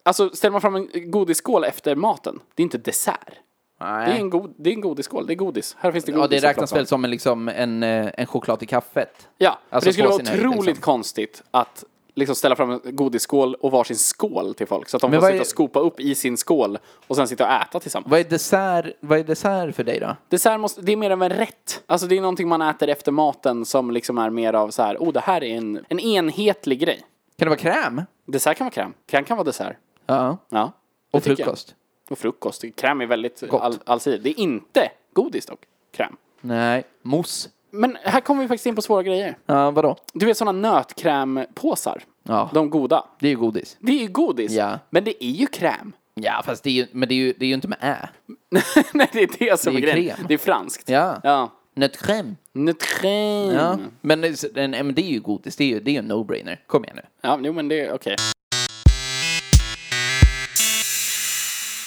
Speaker 1: alltså ställer man fram en godisskål efter maten, det är inte dessert. Det är
Speaker 2: Nej.
Speaker 1: en, god, det är en godisskål, det är godis. Här finns det godis.
Speaker 2: Ja, det
Speaker 1: att
Speaker 2: räknas
Speaker 1: plocka.
Speaker 2: väl som en, liksom, en, eh, en choklad i kaffet.
Speaker 1: Ja, för
Speaker 2: Alltså
Speaker 1: det skulle vara
Speaker 2: påsen är det,
Speaker 1: otroligt
Speaker 2: liksom.
Speaker 1: konstigt att liksom ställa fram en godisskål och varsin skål till folk. Så att de
Speaker 2: Men
Speaker 1: får
Speaker 2: vad
Speaker 1: sitta
Speaker 2: är-
Speaker 1: och skopa upp i sin skål och sen sitta och äta tillsammans.
Speaker 2: Vad är dessert, vad är dessert för dig då?
Speaker 1: Dessert måste, det är mer av en rätt. Alltså det är någonting man äter efter maten som liksom är mer av så här, oh det här är en, en enhetlig grej.
Speaker 2: Kan det vara kräm?
Speaker 1: Dessert kan vara kräm, kräm kan vara dessert.
Speaker 2: Ja.
Speaker 1: Ja. det
Speaker 2: Och
Speaker 1: tycker jag.
Speaker 2: frukost?
Speaker 1: Och frukost. Kräm är väldigt
Speaker 2: Gott.
Speaker 1: all, allsidigt. Det är inte godis dock, kräm.
Speaker 2: Nej. Mousse?
Speaker 1: Men här kommer vi faktiskt in på svåra grejer.
Speaker 2: Ja, vadå?
Speaker 1: Du vet sådana nötkrämpåsar?
Speaker 2: Ja.
Speaker 1: De goda.
Speaker 2: Det är ju godis.
Speaker 1: Det är ju godis.
Speaker 2: Ja.
Speaker 1: Men det är ju kräm. <laughs>
Speaker 2: Ja, fast det är ju, men det är ju, det är ju inte med ä.
Speaker 1: Nej, det är det som
Speaker 2: Det
Speaker 1: är
Speaker 2: är
Speaker 1: grejen.
Speaker 2: krem.
Speaker 1: Det är franskt.
Speaker 2: Ja.
Speaker 1: ja.
Speaker 2: Nöt crème.
Speaker 1: Nutrin.
Speaker 2: Ja.
Speaker 1: Ja.
Speaker 2: Men, eh, s- en- men det är ju godis. Det är ju det är ju en no-brainer. Kom igen nu.
Speaker 1: ja, jo men det är okej.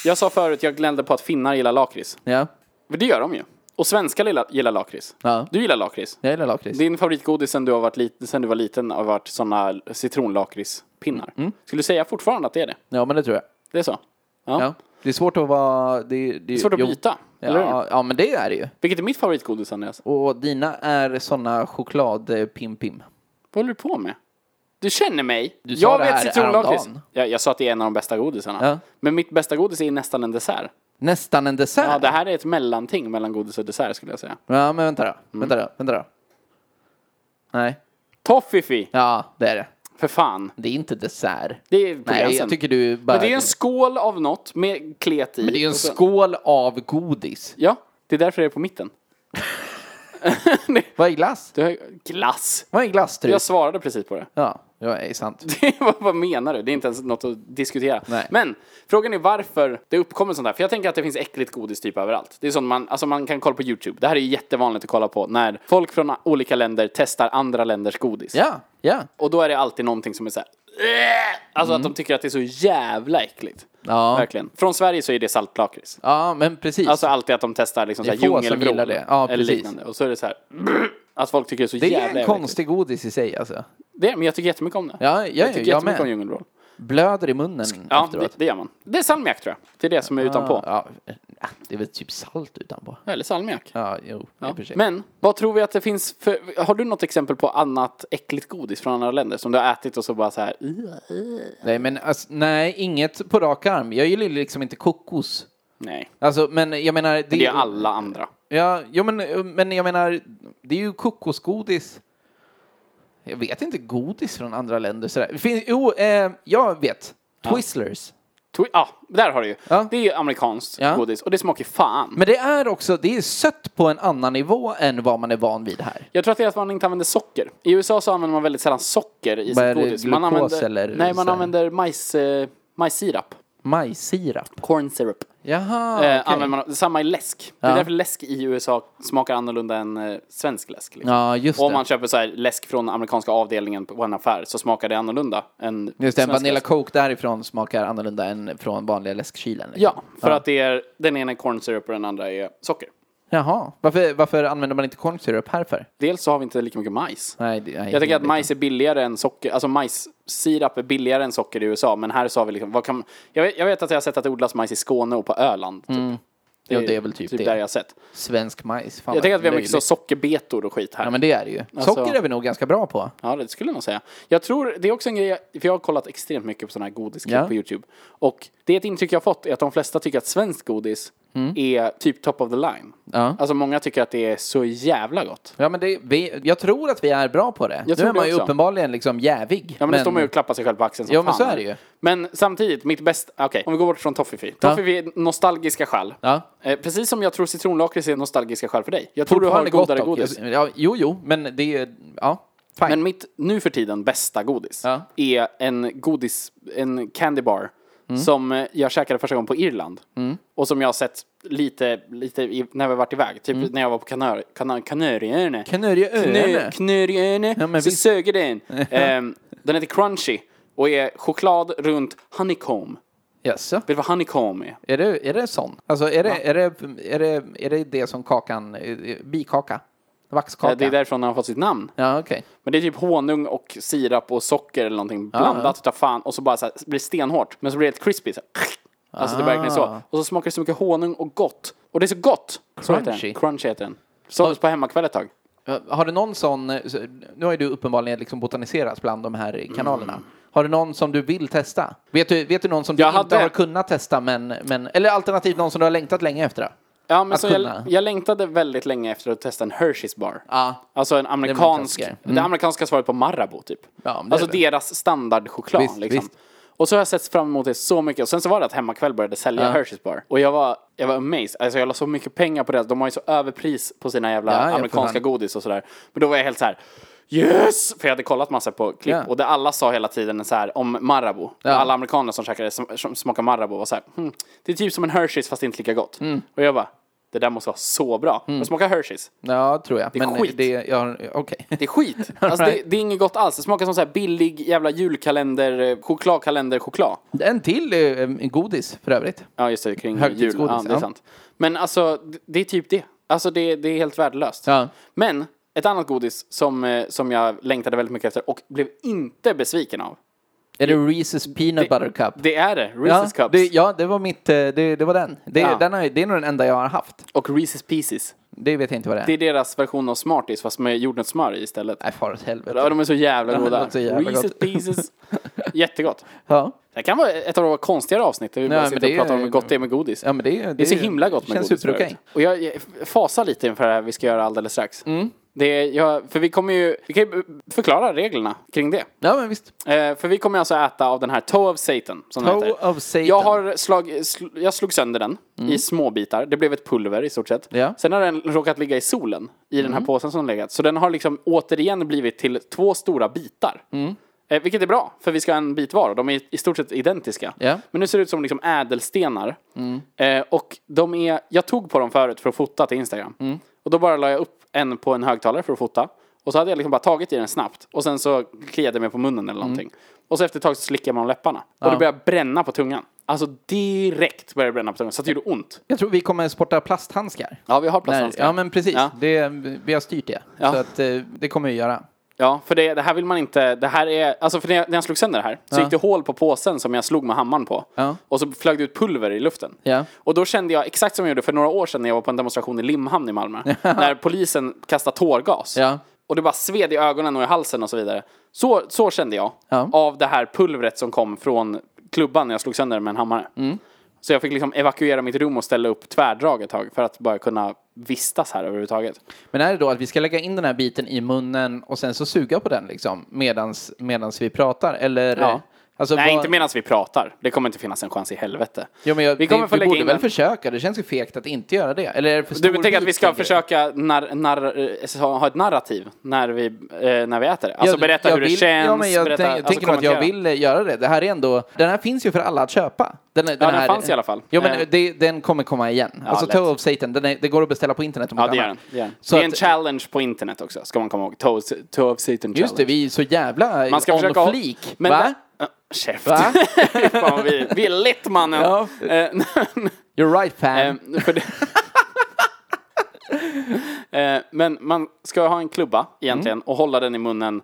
Speaker 1: Jag sa förut, jag glömde på att finnar gillar lakrits.
Speaker 2: Ja.
Speaker 1: För det gör de ju. Och svenskar gillar, gillar lakrits.
Speaker 2: Ja.
Speaker 1: Du gillar lakrits.
Speaker 2: Jag gillar lakrits.
Speaker 1: Din favoritgodis sen du, har varit lit, sen du var liten har varit sådana citronlakritspinnar.
Speaker 2: Mm.
Speaker 1: Skulle du säga fortfarande att det är det?
Speaker 2: Ja, men det tror jag.
Speaker 1: Det är så? Ja.
Speaker 2: Ja. Det är svårt att vara... Det, det,
Speaker 1: Det är svårt att
Speaker 2: jo.
Speaker 1: byta, eller hur?
Speaker 2: Ja, ja, men det är det ju.
Speaker 1: Vilket är mitt favoritgodis, Andreas?
Speaker 2: Och dina är såna choklad-pim-pim.
Speaker 1: Vad håller du på med? Du känner mig.
Speaker 2: Du sa
Speaker 1: jag
Speaker 2: det
Speaker 1: vet
Speaker 2: här
Speaker 1: citronlakrits.
Speaker 2: häromdagen.
Speaker 1: Jag, jag sa att det är en av de bästa godisarna.
Speaker 2: Ja.
Speaker 1: Men mitt bästa godis är nästan en dessert.
Speaker 2: Nästan en dessert.
Speaker 1: Ja, det här är ett mellanting mellan godis och dessert skulle jag säga.
Speaker 2: Ja, men vänta då.
Speaker 1: Mm.
Speaker 2: Vänta då. Vänta då. Nej.
Speaker 1: Toffifi!
Speaker 2: Ja, det är det.
Speaker 1: För fan.
Speaker 2: Det är inte dessert.
Speaker 1: Det är på
Speaker 2: Nej,
Speaker 1: gränsen.
Speaker 2: jag tycker du bara...
Speaker 1: Men det är ju en skål av något med klet i.
Speaker 2: det är ju en
Speaker 1: Och så-
Speaker 2: skål av godis.
Speaker 1: Ja, det är därför det är på mitten. <laughs>
Speaker 2: Vad är glass?
Speaker 1: Du har... Glass!
Speaker 2: Vad är glasstrut?
Speaker 1: Jag svarade precis på det.
Speaker 2: Ja, det är sant.
Speaker 1: vad, vad menar du? Det är <laughs> inte ens något att diskutera.
Speaker 2: Nej.
Speaker 1: Men frågan är varför det uppkommer sånt här. För jag tänker att det finns äckligt godis typ överallt. Det är sånt man, alltså man kan kolla på YouTube. Det här är ju jättevanligt att kolla på när folk från olika länder testar andra länders godis.
Speaker 2: Ja, ja.
Speaker 1: Och då är det alltid någonting som är så här. "Äh!" Alltså att de tycker att det är så jävla äckligt.
Speaker 2: Mm. Ja.
Speaker 1: Verkligen. Från Sverige så är det saltlakrits.
Speaker 2: Ja, men precis.
Speaker 1: Alltså alltid att de testar liksom
Speaker 2: Det
Speaker 1: så
Speaker 2: är
Speaker 1: här
Speaker 2: få som
Speaker 1: djungelvrål.
Speaker 2: gillar det. Ja,
Speaker 1: eller
Speaker 2: precis.
Speaker 1: liknande. Och så är det så här. <clears throat> Att folk tycker det är så
Speaker 2: det
Speaker 1: jävla
Speaker 2: är en
Speaker 1: äckligt.
Speaker 2: konstig godis i sig alltså.
Speaker 1: Det är, men jag tycker jättemycket om det.
Speaker 2: Ja, ja,
Speaker 1: jag tycker
Speaker 2: jag
Speaker 1: jättemycket
Speaker 2: med.
Speaker 1: om djungelvrål.
Speaker 2: Blöder i munnen
Speaker 1: Ja, det,
Speaker 2: efteråt.
Speaker 1: det gör man. Det är salmiak tror jag. Det är det som är utanpå.
Speaker 2: Ja, ja, det är väl typ salt utanpå.
Speaker 1: Eller salmiak.
Speaker 2: Ja, jo, i
Speaker 1: Ja.
Speaker 2: och för sig.
Speaker 1: Men vad tror vi att det finns för... Har du något exempel på annat äckligt godis från andra länder som du har ätit och så bara så här... "Mm, "Ugh."
Speaker 2: Nej, men alltså, nej, inget på rak arm. Jag gillar ju liksom inte kokos.
Speaker 1: Nej,
Speaker 2: Alltså, men jag menar... Det,
Speaker 1: det är alla andra.
Speaker 2: Ja, jo, men, men jag menar, det är ju kokosgodis. Jag vet inte godis från andra länder sådär. Det Finns, jo, eh, jag vet. Twizzlers.
Speaker 1: Twi- Ja, där har du ju.
Speaker 2: Ja.
Speaker 1: Det är ju amerikanskt
Speaker 2: Ja.
Speaker 1: godis och det smakar fan.
Speaker 2: Men det är också, det är sött på en annan nivå än vad man är van vid här.
Speaker 1: Jag tror att det är att man inte använder socker. I USA så använder man väldigt sällan socker i
Speaker 2: Vad är det,
Speaker 1: sitt godis. Man
Speaker 2: glukos
Speaker 1: använder,
Speaker 2: eller
Speaker 1: nej, man
Speaker 2: så här?
Speaker 1: använder majs, eh, majssirap.
Speaker 2: Majssirap.
Speaker 1: Corn syrup.
Speaker 2: Jaha,
Speaker 1: Eh,
Speaker 2: okej.
Speaker 1: använder man, samma i läsk. Det
Speaker 2: Ja.
Speaker 1: är därför läsk i USA smakar annorlunda än eh, svensk läsk. Liksom.
Speaker 2: Ja, just
Speaker 1: Och om
Speaker 2: det.
Speaker 1: man köper så här läsk från amerikanska avdelningen på en affär så smakar det annorlunda än
Speaker 2: Just det, en
Speaker 1: svensk
Speaker 2: Vanilla
Speaker 1: läsk.
Speaker 2: Coke därifrån smakar annorlunda än från vanliga läskkylen. liksom.
Speaker 1: Ja, för att det är, den ena är corn syrup och den andra är socker.
Speaker 2: Jaha, varför, varför använder man inte corn syrup här för?
Speaker 1: Dels så har vi inte lika mycket majs.
Speaker 2: Nej, det, nej,
Speaker 1: Jag tycker att
Speaker 2: det-
Speaker 1: majs är billigare än socker, alltså majssirap är billigare än socker i USA, men här så har vi liksom, vad kan, jag, vet, jag vet att jag har sett att det odlas majs i Skåne och på Öland. Typ.
Speaker 2: Jo, Mm. det är väl typ det.
Speaker 1: där jag har sett.
Speaker 2: Svensk majs. Fan
Speaker 1: Jag
Speaker 2: vad
Speaker 1: tänker att vi har mycket så
Speaker 2: löjligt.
Speaker 1: sockerbetor och skit här.
Speaker 2: Ja, men det är det ju.
Speaker 1: Alltså-
Speaker 2: Socker är vi nog ganska bra på.
Speaker 1: Ja, det skulle jag nog säga. Jag tror, det är också en grej, jag- för jag har kollat extremt mycket på sådana här godisklipp
Speaker 2: Ja.
Speaker 1: på YouTube. Och det är ett intryck jag har fått är att de flesta tycker att svenskt godis är typ top of the line.
Speaker 2: Mm. Ja.
Speaker 1: Alltså många tycker att det är så jävla gott.
Speaker 2: Ja, men det, vi, jag tror att vi är bra på det. nu
Speaker 1: tror
Speaker 2: är man
Speaker 1: det
Speaker 2: ju
Speaker 1: också.
Speaker 2: uppenbarligen liksom jävig.
Speaker 1: Ja men, det står man ju och klappar sig själv på axeln som
Speaker 2: Ja, men
Speaker 1: fan.
Speaker 2: så är det ju.
Speaker 1: Men samtidigt, mitt bästa, okej, om vi går bort från Toffifee. Toffifee är nostalgiska skäl.
Speaker 2: Ja.
Speaker 1: Eh, precis som jag tror citronlakrits är nostalgiska skäl för dig. Jag tror du har
Speaker 2: Fortfarande gott
Speaker 1: godare
Speaker 2: dock.
Speaker 1: godis.
Speaker 2: Jag- Ja, jo, jo, men det är... Ja, fine.
Speaker 1: Men mitt nu för tiden bästa godis
Speaker 2: Ja.
Speaker 1: är en godis, en candy bar
Speaker 2: Mm.
Speaker 1: som eh, jag käkade första gången på Irland. Och som jag har sett lite, lite i, när vi har varit iväg. Typ
Speaker 2: Mm.
Speaker 1: när jag var på Kanör, Kanör, Kanarieöarna.
Speaker 2: Kanarieöarna?
Speaker 1: Knö- Kanarieöarna.
Speaker 2: Ja, men
Speaker 1: så
Speaker 2: visst.
Speaker 1: sög jag
Speaker 2: <laughs>
Speaker 1: den. Ehm, den heter Crunchy och är choklad runt honeycomb.
Speaker 2: Jaså?
Speaker 1: Vet du vad honeycomb är?
Speaker 2: Är det, är det sån? Alltså, är det, är, det, är, det, är det det som kakan... eh, Bikaka? Vaxkaka?
Speaker 1: Det är därifrån den har fått sitt namn.
Speaker 2: Ja, okej.
Speaker 1: Men det är typ honung och sirap och socker eller någonting blandat utav fan och så bara så här, blir det stenhårt. Men så blir det helt crispy så här. Alltså det är verkligen så. Och så smakar det så mycket honung och gott. Och det är så gott! Så heter
Speaker 2: Crunchy.
Speaker 1: den. Crunchy heter den. Såldes på hemmakväll ett tag.
Speaker 2: Ja, Har du någon sån... eh, så- Nu har ju du uppenbarligen liksom botaniserat bland de här
Speaker 1: Mm.
Speaker 2: kanalerna. Har du någon som du vill testa? Vet du, vet du någon som du
Speaker 1: Jag
Speaker 2: inte
Speaker 1: hade-
Speaker 2: har kunnat testa, men, men... Eller alternativt någon som du har längtat länge efter?
Speaker 1: Ja men
Speaker 2: Att
Speaker 1: så jag,
Speaker 2: kunna.
Speaker 1: jag längtade väldigt länge efter att testa en Hershey's bar.
Speaker 2: Ja.
Speaker 1: Alltså en amerikansk, det,
Speaker 2: klassiker. Mm.
Speaker 1: amerikanska svaret på Marabou typ.
Speaker 2: Ja, men det
Speaker 1: alltså
Speaker 2: är det.
Speaker 1: deras standardchoklad
Speaker 2: Visst,
Speaker 1: liksom.
Speaker 2: visst.
Speaker 1: Och så har jag sett fram emot det så mycket. Och sen så var det att Hemmakväll började sälja
Speaker 2: Ja.
Speaker 1: Hershey's bar. Och jag var, jag var amazed. Alltså jag la så mycket pengar på det. De har ju så överpris på sina jävla
Speaker 2: Ja, ja, för
Speaker 1: amerikanska
Speaker 2: fan.
Speaker 1: godis och sådär. Men då var jag helt så här. yes! För jag hade kollat massa på klipp
Speaker 2: Ja.
Speaker 1: och det alla sa hela tiden så här om Marabou. Alla amerikaner som käkade, som, som smakade Marabou var så här, hm, det är typ som en Hershey's fast inte lika gott. Och jag bara, det där måste vara så bra. Jag smakar Hershey's.
Speaker 2: Ja, tror jag.
Speaker 1: är
Speaker 2: Men eh,
Speaker 1: skit.
Speaker 2: det, ja, okej.
Speaker 1: Det är skit. <laughs> Alltså,
Speaker 2: Alright.
Speaker 1: det, det är inget gott alls. Det smakar som så här billig jävla julkalender, eh, chokladkalender, choklad.
Speaker 2: En till eh, godis för övrigt.
Speaker 1: Ja, just det, kring jul.
Speaker 2: Högtidsgodis,
Speaker 1: Ja, det är
Speaker 2: ja.
Speaker 1: sant. Men alltså, det- det är typ det. Alltså, det, det är helt värdelöst.
Speaker 2: Ja.
Speaker 1: Men, ett annat godis som, eh, som jag längtade väldigt mycket efter och blev inte besviken av.
Speaker 2: Är det Reese's Peanut Butter Cup?
Speaker 1: Det är det,
Speaker 2: ja,
Speaker 1: Reese's Cups.
Speaker 2: det, ja, det var mitt, eh, det, det var den. Det,
Speaker 1: Ja.
Speaker 2: den har, det är nog den enda jag har haft.
Speaker 1: Och Reese's Pieces.
Speaker 2: Det vet jag inte vad det är.
Speaker 1: Det är deras version av Smarties fast med jordnötssmör i istället.
Speaker 2: Nej, far åt helvete.
Speaker 1: Ja, de är så jävla
Speaker 2: Ja, det
Speaker 1: goda.
Speaker 2: låter så jävla
Speaker 1: Reese's
Speaker 2: gott. <laughs>
Speaker 1: Pieces. Jättegott.
Speaker 2: Ja.
Speaker 1: Det kan vara ett av de konstigare avsnitten. Vi bara
Speaker 2: men
Speaker 1: sitter och
Speaker 2: det
Speaker 1: pratar om
Speaker 2: är-
Speaker 1: hur gott det är med godis.
Speaker 2: ja, men det,
Speaker 1: Det är så himla gott med
Speaker 2: känns
Speaker 1: godis.
Speaker 2: superokej.
Speaker 1: förut. Och jag jag fasar lite inför det här vi ska göra alldeles strax.
Speaker 2: Mm.
Speaker 1: Det är, jag, för vi kommer ju, vi kan ju förklara reglerna kring det.
Speaker 2: Ja, men visst.
Speaker 1: Eh, för vi kommer alltså äta av den här Toe of Satan. Som den
Speaker 2: Toe
Speaker 1: heter.
Speaker 2: of Satan.
Speaker 1: Jag, har slag, sl, jag slog sönder den i små bitar. Det blev ett pulver i stort sett.
Speaker 2: Ja.
Speaker 1: Sen har den råkat ligga i solen i den här påsen som den legat. Så den har liksom återigen blivit till två stora bitar. Eh, vilket är bra, för vi ska ha en bit var och de är i stort sett identiska.
Speaker 2: Ja.
Speaker 1: Men nu ser det ut som liksom ädelstenar. Eh, och de är, jag tog på dem förut för att fota till Instagram. Och då bara la jag upp en på en högtalare för att fota. Och så hade jag liksom bara tagit i den snabbt. Och sen så kliade jag mig på munnen eller någonting. Och så efter ett tag så slickade man läpparna. Och det började bränna på tungan. Alltså direkt började det bränna på tungan. Så att det gjorde ont.
Speaker 2: Jag tror vi kommer sporta plasthandskar.
Speaker 1: Ja, vi har
Speaker 2: Nej,
Speaker 1: plasthandskar.
Speaker 2: ja, men precis.
Speaker 1: Ja.
Speaker 2: Det, vi har styrt det.
Speaker 1: Ja.
Speaker 2: Så att, eh, det kommer vi göra.
Speaker 1: Ja, för det, det här vill man inte, det här är, alltså för när jag, när jag slog sönder det här så gick det hål på påsen som jag slog med hammaren på.
Speaker 2: Ja.
Speaker 1: Och så flög det ut pulver i luften.
Speaker 2: Ja.
Speaker 1: Och då kände jag exakt som jag gjorde för några år sedan när jag var på en demonstration i Limhamn
Speaker 2: <laughs>
Speaker 1: i Malmö. När polisen kastade tårgas.
Speaker 2: Ja.
Speaker 1: Och det bara sved i ögonen och i halsen och så vidare. Så, så kände jag
Speaker 2: Ja.
Speaker 1: av det här pulvret som kom från klubban när jag slog sönder den med en hammare.
Speaker 2: Mm.
Speaker 1: Så jag fick liksom evakuera mitt rum och ställa upp tvärdrag ett tag för att bara kunna vistas här överhuvudtaget.
Speaker 2: Men är det då att vi ska lägga in den här biten i munnen och sen så suga på den liksom medans, medans vi pratar? Eller?
Speaker 1: Ja.
Speaker 2: Alltså,
Speaker 1: Nej,
Speaker 2: vad-
Speaker 1: inte medan vi pratar. Det kommer inte finnas en chans i helvete.
Speaker 2: Jo, men jag,
Speaker 1: vi kommer
Speaker 2: det,
Speaker 1: få
Speaker 2: vi
Speaker 1: lägga
Speaker 2: borde
Speaker 1: in
Speaker 2: väl
Speaker 1: den.
Speaker 2: försöka? Det känns ju fegt att inte göra det. Eller är det för
Speaker 1: Du
Speaker 2: stor
Speaker 1: tänker att vi
Speaker 2: bit,
Speaker 1: ska
Speaker 2: tänker du?
Speaker 1: försöka nar, nar, eh, ha ha ett narrativ när vi, eh, när vi äter det? Alltså
Speaker 2: Jag-
Speaker 1: berätta
Speaker 2: jag
Speaker 1: hur det
Speaker 2: vill-
Speaker 1: känns.
Speaker 2: Ja, men jag
Speaker 1: berätta,
Speaker 2: tänk,
Speaker 1: alltså,
Speaker 2: tänker nog att jag
Speaker 1: kommentera.
Speaker 2: vill eh, göra det. Det här är ändå, den här finns ju för alla att köpa. Den,
Speaker 1: den fanns i alla fall.
Speaker 2: Jo,
Speaker 1: Eh.
Speaker 2: men det, den kommer komma igen. alltså
Speaker 1: lätt.
Speaker 2: Toe of Satan, den är, det går att beställa på internet om
Speaker 1: Ja,
Speaker 2: inte
Speaker 1: det gör den.
Speaker 2: annat.
Speaker 1: Det, gör den.
Speaker 2: Så
Speaker 1: det är en
Speaker 2: att-
Speaker 1: challenge på internet också, ska man komma ihåg. Toe, toe of Satan challenge.
Speaker 2: Just det, vi är så jävla
Speaker 1: man ska
Speaker 2: on
Speaker 1: försöka ha-
Speaker 2: fleek.
Speaker 1: Men
Speaker 2: Va?
Speaker 1: det- Äh, Käft. <laughs>
Speaker 2: Va?
Speaker 1: Fan, vad vi, vi är lätt mannen.
Speaker 2: Ja.
Speaker 1: Eh, <laughs>
Speaker 2: You're right fan.
Speaker 1: Ehm,
Speaker 2: <laughs>
Speaker 1: för det... Eh, Men man ska ha en
Speaker 2: Mm.
Speaker 1: klubba egentligen och hålla den i munnen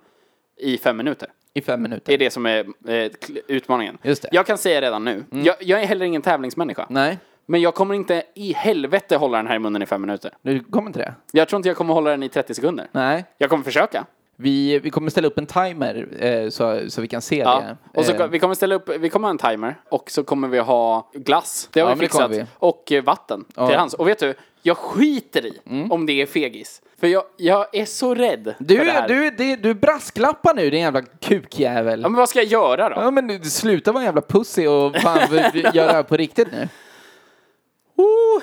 Speaker 1: i fem minuter.
Speaker 2: I fem minuter.
Speaker 1: Det är det som är eh, kl- utmaningen.
Speaker 2: Just det. Mm.
Speaker 1: Jag kan säga redan nu, jag, jag är heller ingen tävlingsmänniska.
Speaker 2: Nej,
Speaker 1: Men jag kommer inte i helvete hålla den här i munnen i fem minuter.
Speaker 2: du kommer inte det?
Speaker 1: Jag tror inte jag kommer hålla den i 30 sekunder.
Speaker 2: Nej.
Speaker 1: Jag kommer försöka.
Speaker 2: Vi, vi kommer ställa upp en timer eh, så, så vi kan se
Speaker 1: Ja.
Speaker 2: det.
Speaker 1: Och så,
Speaker 2: Eh,
Speaker 1: ko- vi kommer ställa upp, vi kommer ha en timer och så kommer vi ha glass. Det har
Speaker 2: Ja,
Speaker 1: vi
Speaker 2: men det
Speaker 1: fixat.
Speaker 2: kommer vi.
Speaker 1: Och eh, vatten till hans. Och vet du, jag skiter i om det är fegis. För jag, jag är så rädd för
Speaker 2: Mm. du,
Speaker 1: det här.
Speaker 2: du, det, du brasklappar nu din jävla kukjävel.
Speaker 1: Ja, men vad ska jag göra då?
Speaker 2: Ja men du, sluta vara en jävla pussy och fan gör det här på riktigt nu.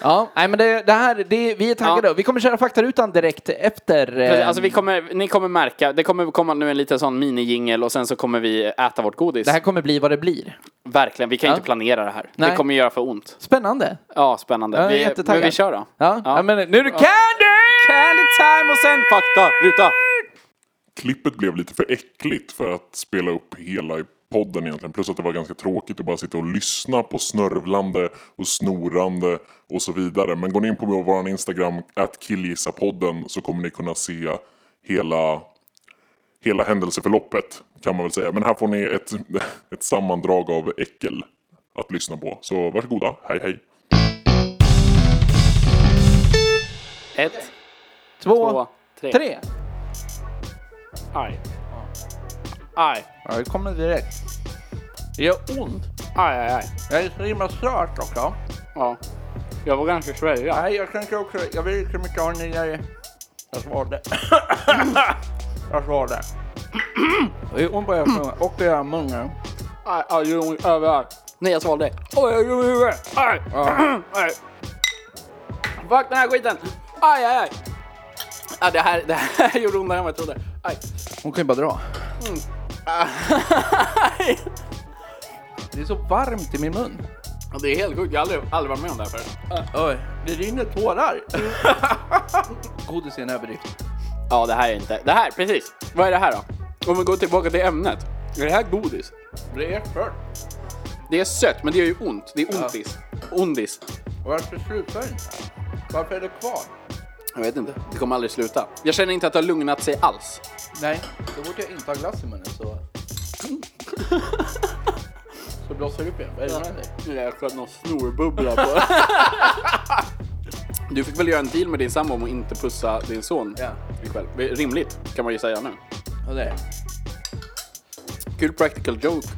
Speaker 2: Ja, nej men det, det här, det, vi är taggade.
Speaker 1: Ja.
Speaker 2: Vi kommer köra faktarutan direkt efter.
Speaker 1: Precis,
Speaker 2: eh,
Speaker 1: Alltså vi kommer, ni kommer märka, det kommer komma nu en liten sån minijingel och sen så kommer vi äta vårt godis.
Speaker 2: Det här kommer bli vad det blir.
Speaker 1: Verkligen, vi kan
Speaker 2: Ja.
Speaker 1: inte planera det här. Det
Speaker 2: Nej.
Speaker 1: kommer göra för ont.
Speaker 2: Spännande.
Speaker 1: Ja, spännande.
Speaker 2: Ja, jag är
Speaker 1: vi, men
Speaker 2: jättetaggad.
Speaker 1: vi kör då.
Speaker 2: Ja, ja. men nu är det
Speaker 1: Candy
Speaker 2: candy!
Speaker 1: time och sen fakta, ruta.
Speaker 3: Klippet blev lite för äckligt för att spela upp hela i podden egentligen. Plus att det var ganska tråkigt att bara sitta och lyssna på snörvlande och snorande och så vidare. Men gå in på vår Instagram, att killgissapodden, så kommer ni kunna se hela, hela händelseförloppet kan man väl säga. Men här får ni ett, <laughs> ett sammandrag av äckel att lyssna på. Så varsågoda, hej hej!
Speaker 1: Ett,
Speaker 2: Två,
Speaker 1: två, tre.
Speaker 2: tre.
Speaker 1: Aj. Aj.
Speaker 2: Ja, det kommer direkt. Det gör ont.
Speaker 1: Aj, aj, aj.
Speaker 2: Jag är så himla sört också.
Speaker 1: Ja. Jag vågar inte svälja.
Speaker 2: Nej, jag tänker också, jag vill inte mycket ha den där... Jag svarade. jag Mm. svarade. Mm. Det är ont på ögonen och i munnen.
Speaker 1: Aj, aj, det gör ont överallt. Nej, jag svalde. Oj, jag gjorde huvudet. Aj. <clears throat> Aj. <laughs> Fuck den här skiten. Aj, Mm. aj, aj. Ja, det, här, det här gjorde ondare än vad jag trodde. Aj.
Speaker 2: Hon kan ju bara dra.
Speaker 1: <laughs>
Speaker 2: Det är så varmt i min mun.
Speaker 1: Ja, Det är helt sjukt, jag har aldrig, aldrig varit med om det här förut.
Speaker 2: Oj, det rinner tårar. <laughs> Godis är en överdrift.
Speaker 1: Ja, det här är inte... Det här, precis. Vad är det här då? Om vi går tillbaka till ämnet. Är det här godis?
Speaker 2: Det är för.
Speaker 1: Det är sött, men det gör ju ont. Det är ontis. Ondis.
Speaker 2: Varför slutar den? Varför är det kvar?
Speaker 1: Jag vet inte. Det kommer aldrig sluta. Jag känner inte att det har lugnat sig alls.
Speaker 2: Nej, så fort jag inte har glass i munnen så... <laughs> så blossar det upp igen. Vad är det med dig?
Speaker 1: Jag sköt någon snorbubbla på. <laughs> Du fick väl göra en deal med din sambo om att inte pussa din son
Speaker 2: Ja.
Speaker 1: ikväll. Rimligt, kan man ju säga nu.
Speaker 2: Ja, det är det.
Speaker 1: Kul practical joke.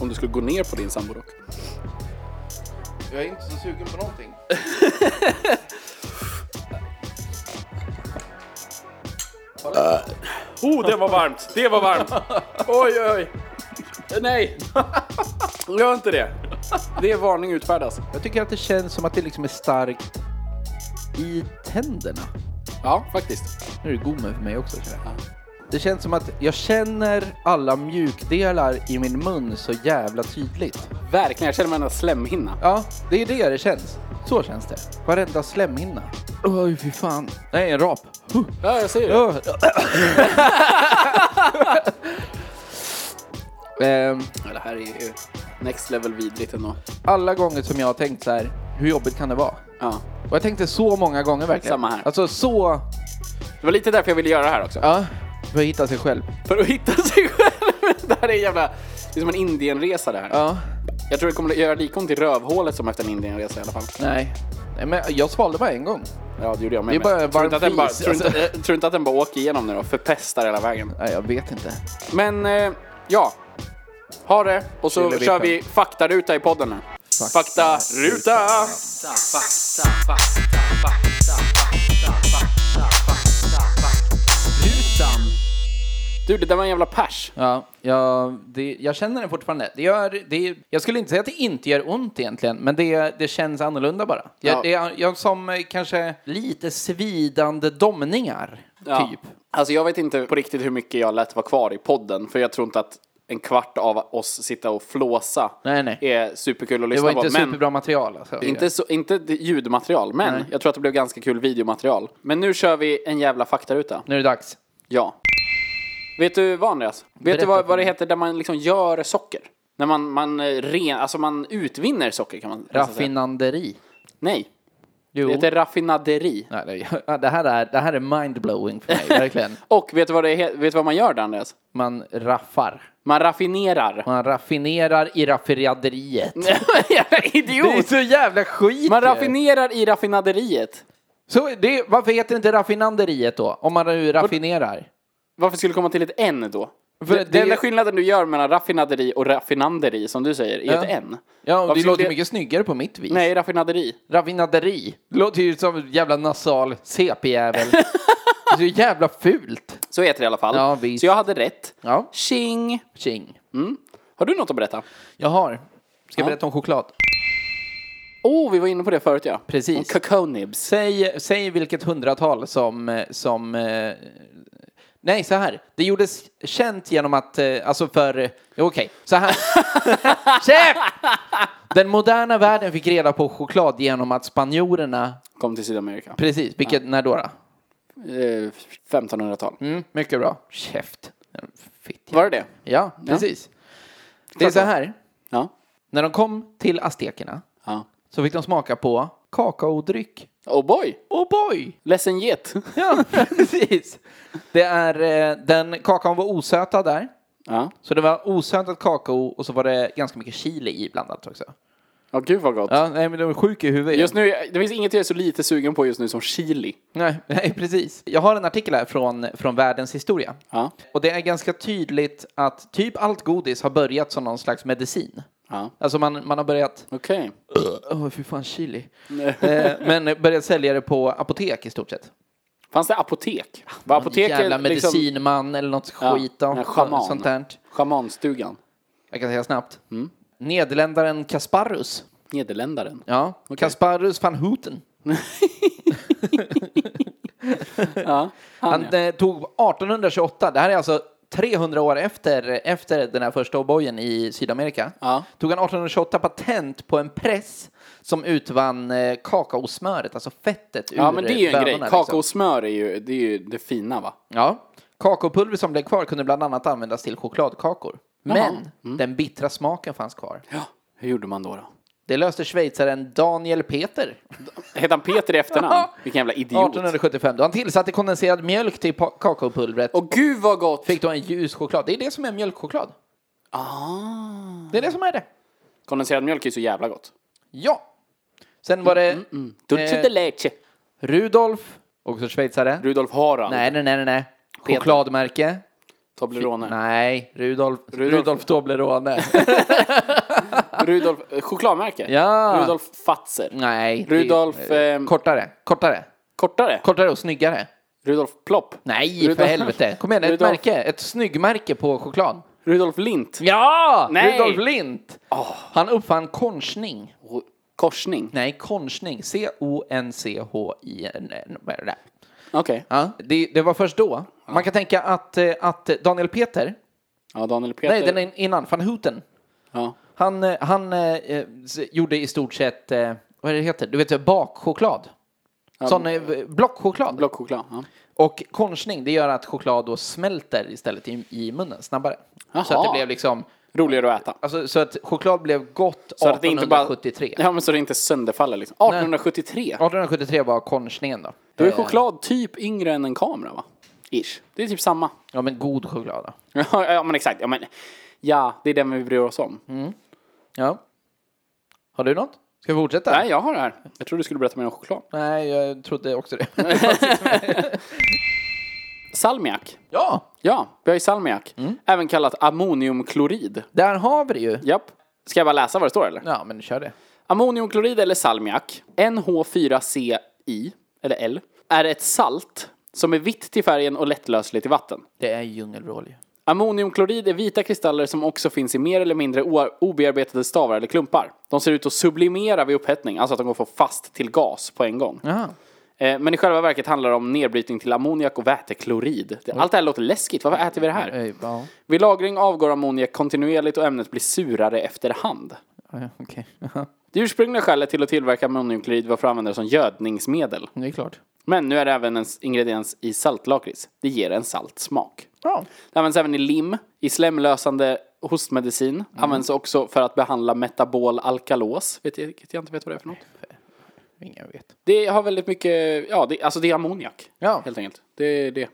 Speaker 1: Om du skulle gå ner på din sambo dock.
Speaker 2: Jag är inte så sugen på någonting.
Speaker 1: Oh, det var varmt! Det var varmt! Oj, oj, oj. Nej! Gör inte det. Det är varning alltså. utfärdas.
Speaker 2: Jag tycker att det känns som att det liksom är starkt i tänderna.
Speaker 1: Ja, faktiskt.
Speaker 2: Nu är det gommen för mig också. Tror jag. Det känns som att jag känner alla mjukdelar i min mun så jävla tydligt.
Speaker 1: Verkligen, jag känner mig en slemhinna.
Speaker 2: Ja, det är det det känns. Så känns det. Varenda slemhinna. Oj, fy fan. Nej, en <laughs> rap. Huh.
Speaker 1: Ja, jag ser det.
Speaker 2: Öh. Ehm,
Speaker 1: Ja, det här är ju next level vidrigt ändå.
Speaker 2: alla gånger som jag har tänkt så här, hur jobbigt kan det vara?
Speaker 1: Ja.
Speaker 2: Och jag tänkte så många gånger verkligen.
Speaker 1: Samma här.
Speaker 2: Alltså så...
Speaker 1: Det var lite därför jag ville göra det här också.
Speaker 2: Ja, för att hitta sig själv.
Speaker 1: För att hitta sig själv. Det här är en jävla... Det är som en Indienresa det här.
Speaker 2: Ja,
Speaker 1: Jag tror det kommer att göra lika ont i rövhålet som efter en Indienresa i alla fall.
Speaker 2: nej. nej men jag svalde bara en gång.
Speaker 1: Ja, det gjorde jag med.
Speaker 2: Det är bara
Speaker 1: men. tror, du inte att den bara,
Speaker 2: varm fis,
Speaker 1: tror, du inte, eh, tror du inte att den bara åker igenom nu då? Förpestar hela vägen.
Speaker 2: Nej, jag vet inte.
Speaker 1: Men eh, ja, ha det. Och så
Speaker 2: Lille
Speaker 1: kör
Speaker 2: vippen.
Speaker 1: vi faktaruta i podden nu. Faktaruta! Du, det där var en jävla pers.
Speaker 2: Ja, jag, det, jag känner den fortfarande. Det gör, det, jag skulle inte säga att det inte gör ont egentligen, men det, det känns annorlunda bara. Jag,
Speaker 1: Ja.
Speaker 2: det, är- jag som eh, kanske lite svidande domningar,
Speaker 1: Ja.
Speaker 2: typ.
Speaker 1: Alltså jag vet inte på riktigt hur mycket jag lät vara kvar i podden, för jag tror inte att en kvart av oss sitta och flåsa
Speaker 2: Nej, nej.
Speaker 1: är superkul att
Speaker 2: Det
Speaker 1: lyssna
Speaker 2: var inte
Speaker 1: på. Men
Speaker 2: superbra material. Alltså.
Speaker 1: inte, så, inte det- ljudmaterial, men
Speaker 2: Nej.
Speaker 1: jag tror att det blev ganska kul videomaterial. Men nu kör vi en jävla faktaruta.
Speaker 2: Nu är det dags.
Speaker 1: Ja. Vet du vad Andreas? Vet
Speaker 2: Berätta
Speaker 1: du vad,
Speaker 2: för
Speaker 1: vad det
Speaker 2: mig.
Speaker 1: heter där man liksom gör socker? När man, man, eh, ren, alltså man utvinner socker kan man nästan säga.
Speaker 2: Raffinaderi.
Speaker 1: Nej,
Speaker 2: Jo.
Speaker 1: det heter raffinaderi.
Speaker 2: Nej, det, ja, det, här är, <laughs> det här är mindblowing för mig,
Speaker 1: <laughs>
Speaker 2: verkligen.
Speaker 1: Och vet du vad, det, he- vet du vad man gör där Andreas?
Speaker 2: Man raffar.
Speaker 1: Man raffinerar.
Speaker 2: Man raffinerar i raffinaderiet.
Speaker 1: Jävla
Speaker 2: Det är
Speaker 1: Idiot!
Speaker 2: så jävla skit
Speaker 1: Man
Speaker 2: ju.
Speaker 1: raffinerar i raffinaderiet.
Speaker 2: så det, Varför heter det inte raffinaderiet då? Om man nu raffinerar.
Speaker 1: Varför skulle det komma till ett N då?
Speaker 2: För det-
Speaker 1: Det, Den enda skillnaden du gör mellan raffinaderi och raffinanderi som du säger är
Speaker 2: Ja.
Speaker 1: ett N.
Speaker 2: Ja, och
Speaker 1: Varför
Speaker 2: det
Speaker 1: skulle
Speaker 2: låter mycket snyggare på mitt vis. <laughs>
Speaker 1: Nej, raffinaderi.
Speaker 2: Raffinaderi. Det låter ju som en jävla nasal
Speaker 1: <laughs>
Speaker 2: CP-jävel. det är så jävla fult.
Speaker 1: Så heter det i alla fall.
Speaker 2: Ja, visst.
Speaker 1: Så jag hade rätt.
Speaker 2: Ja,
Speaker 1: Tjing! Mm.
Speaker 2: tjing.
Speaker 1: Har du något att berätta?
Speaker 2: Jag har. Ska jag
Speaker 1: Ja.
Speaker 2: berätta om choklad?
Speaker 1: Åh, oh, vi var inne på det förut ja.
Speaker 2: Precis.
Speaker 1: Om Cacao nibs.
Speaker 2: Säg, säg vilket hundratal som... eh, som eh, nej, så här. Det gjordes känt genom att... eh, Alltså för... eh, Okej, så här. Chef! Den moderna världen fick reda på choklad genom att spanjorerna...
Speaker 1: Kom till Sydamerika.
Speaker 2: Precis, vilket... När då? då?
Speaker 1: Eh, 1500-tal.
Speaker 2: Mm, mycket bra. Käft. Fitt.
Speaker 1: Var det det?
Speaker 2: Ja, precis. Det är så här.
Speaker 1: Ja.
Speaker 2: När de kom till aztekerna
Speaker 1: ja.
Speaker 2: så fick de smaka på kakaodryck.
Speaker 1: Oh boy!
Speaker 2: Oh boy!
Speaker 1: Ledsen get.
Speaker 2: Ja, <laughs> precis. Det är, eh, den kakaon var osötad där.
Speaker 1: ja.
Speaker 2: Så det var osötad kakao och så var det ganska mycket chili i blandat också.
Speaker 1: Åh gud vad gott.
Speaker 2: Ja, nej men de är sjuka i huvudet.
Speaker 1: Just nu, det finns inget jag är så lite sugen på just nu som chili.
Speaker 2: Nej, <laughs> nej, precis. Jag har en artikel här från, från Världens historia.
Speaker 1: Ja.
Speaker 2: Och det är ganska tydligt att typ allt godis har börjat som någon slags medicin.
Speaker 1: Ja.
Speaker 2: Alltså man, man har börjat, <clears throat>
Speaker 1: Okej.
Speaker 2: åh fy fan chili. Eh, men börjat sälja det på apotek i stort sett.
Speaker 1: Fanns det apotek? Var apoteket
Speaker 2: Jävla
Speaker 1: liksom-
Speaker 2: medicinman eller något
Speaker 1: Ja,
Speaker 2: skit.
Speaker 1: en
Speaker 2: Ja,
Speaker 1: schaman.
Speaker 2: sånt där.
Speaker 1: Schamanstugan.
Speaker 2: Jag kan säga snabbt.
Speaker 1: Mm.
Speaker 2: Nederländaren Kasparus.
Speaker 1: Nederländaren.
Speaker 2: Ja, Kasparus van Houten.
Speaker 1: <laughs> Ja, han,
Speaker 2: Han
Speaker 1: ja.
Speaker 2: eh, tog 1828, det här är alltså 300 år efter, efter den här första O'boyen i Sydamerika.
Speaker 1: Ja.
Speaker 2: Tog han 1828 patent på en press som utvann eh, kakaosmöret, alltså fettet ur
Speaker 1: ja, men det är ju en
Speaker 2: bönorna,
Speaker 1: grej.
Speaker 2: liksom.
Speaker 1: Kakaosmör är ju det, är ju det fina va?
Speaker 2: Ja. Kakaopulver som blev kvar kunde bland annat användas till chokladkakor. Men
Speaker 1: Mm.
Speaker 2: den bittra smaken fanns kvar.
Speaker 1: Ja. Hur gjorde man då? då?
Speaker 2: Det löste schweizaren Daniel Peter
Speaker 1: Hette han Peter
Speaker 2: <laughs>
Speaker 1: i efternamn? Vilken jävla idiot.
Speaker 2: 1875 då han tillsatte kondenserad mjölk till pa- kakaopulvret
Speaker 1: Och gud vad gott!
Speaker 2: Fick då en ljus choklad. Det är det som är mjölkchoklad.
Speaker 1: Ah.
Speaker 2: Det är det som är det.
Speaker 1: Kondenserad mjölk är ju så jävla gott.
Speaker 2: Ja. Sen var
Speaker 1: Mm,
Speaker 2: det
Speaker 1: Dulce
Speaker 2: Eh.
Speaker 1: de leche.
Speaker 2: Rudolf, också schweizare.
Speaker 1: Rudolf Harald.
Speaker 2: Nej, nej, nej, nej, nej. Chokladmärke.
Speaker 1: Toblerone.
Speaker 2: Nej, Rudolf,
Speaker 1: Rudolf.
Speaker 2: Rudolf.
Speaker 1: <laughs>
Speaker 2: Toblerone.
Speaker 1: Rudolf, eh, chokladmärke.
Speaker 2: Ja.
Speaker 1: Rudolf Fatser.
Speaker 2: nej. det-
Speaker 1: Rudolf, ehm,
Speaker 2: Kortare, kortare.
Speaker 1: Kortare.
Speaker 2: Kortare och snyggare.
Speaker 1: Rudolf Plopp.
Speaker 2: Nej, för
Speaker 1: Rudolf-
Speaker 2: helvete. Kom igen, ett
Speaker 1: Rudolf-
Speaker 2: märke. Ett snyggmärke på choklad.
Speaker 1: Rudolf Lint.
Speaker 2: Ja!
Speaker 1: Nej.
Speaker 2: Rudolf Lindt. Han uppfann konchning.
Speaker 1: Och Korsning.
Speaker 2: Nej, konchning. C-O-N-C-H-I-N.
Speaker 1: Okej.
Speaker 2: Ja, det, det var först då. Man kan tänka att, eh, att Daniel Peter,
Speaker 1: Ja, Daniel Peter.
Speaker 2: nej den är innan, van Houten,
Speaker 1: ja.
Speaker 2: han, eh, han eh, eh, s- gjorde i stort sett, eh, vad är det heter, du vet bakchoklad. Sån eh, blockchoklad.
Speaker 1: Blockchoklad. Ja.
Speaker 2: Och konchning, det gör att choklad då smälter istället i, i munnen snabbare. Så
Speaker 1: Jaha.
Speaker 2: att det blev liksom,
Speaker 1: Roligare att äta.
Speaker 2: alltså, så att choklad blev gott
Speaker 1: Så att det inte bara...
Speaker 2: 1873.
Speaker 1: Ja, men så det inte sönderfaller liksom. 1873.
Speaker 2: 1873 var konchningen då.
Speaker 1: Då är choklad typ yngre än en kamera va? Ish. Det är typ samma.
Speaker 2: Eh,
Speaker 1: <laughs>
Speaker 2: Ja men god choklad då.
Speaker 1: Ja, ja men exakt. Ja, men... ja, det är den vi bryr oss om.
Speaker 2: Mm. Ja. Har du något? Ska vi fortsätta?
Speaker 1: Nej, jag har det här. Jag tror du skulle berätta mer om choklad.
Speaker 2: Nej, jag trodde också det.
Speaker 1: Salmiak.
Speaker 2: <laughs> ja,
Speaker 1: Ja, vi har ju salmiak.
Speaker 2: Mm.
Speaker 1: Även kallat ammoniumklorid.
Speaker 2: där har vi det ju.
Speaker 1: Japp. Ska jag bara läsa vad det står eller?
Speaker 2: Ja, men kör det.
Speaker 1: Ammoniumklorid eller salmiak, NH4CI, eller L, är ett salt som är vitt till färgen och lättlösligt i vatten.
Speaker 2: Det är djungelvrål ju.
Speaker 1: Ammoniumklorid är vita kristaller som också finns i mer eller mindre o- obearbetade stavar eller klumpar. De ser ut att sublimera vid upphettning, alltså att de går från fast till gas på en gång.
Speaker 2: Jaha.
Speaker 1: Eh, Men i själva verket handlar det om nedbrytning till ammoniak och väteklorid. Det- Allt det här låter läskigt, varför äter vi det här?
Speaker 2: Ej, Eh, Ja,
Speaker 1: Vid lagring avgår ammoniak kontinuerligt och ämnet blir surare efterhand.
Speaker 2: Ja, ja, okej.
Speaker 1: Det ursprungliga skälet till att tillverka ammoniumklorid var för att använda det som gödningsmedel.
Speaker 2: Det är klart.
Speaker 1: Men nu är det även en ingrediens i saltlakrits. Det ger en salt smak.
Speaker 2: Ja.
Speaker 1: Det används även i lim, i slemlösande hostmedicin.
Speaker 2: Mm.
Speaker 1: Används också för att behandla metabol alkalos. Vet jag, jag inte vet vad det är för något.
Speaker 2: Ingen vet.
Speaker 1: Det har väldigt mycket, ja, det, alltså det är ammoniak.
Speaker 2: Ja.
Speaker 1: Helt enkelt. Det är det.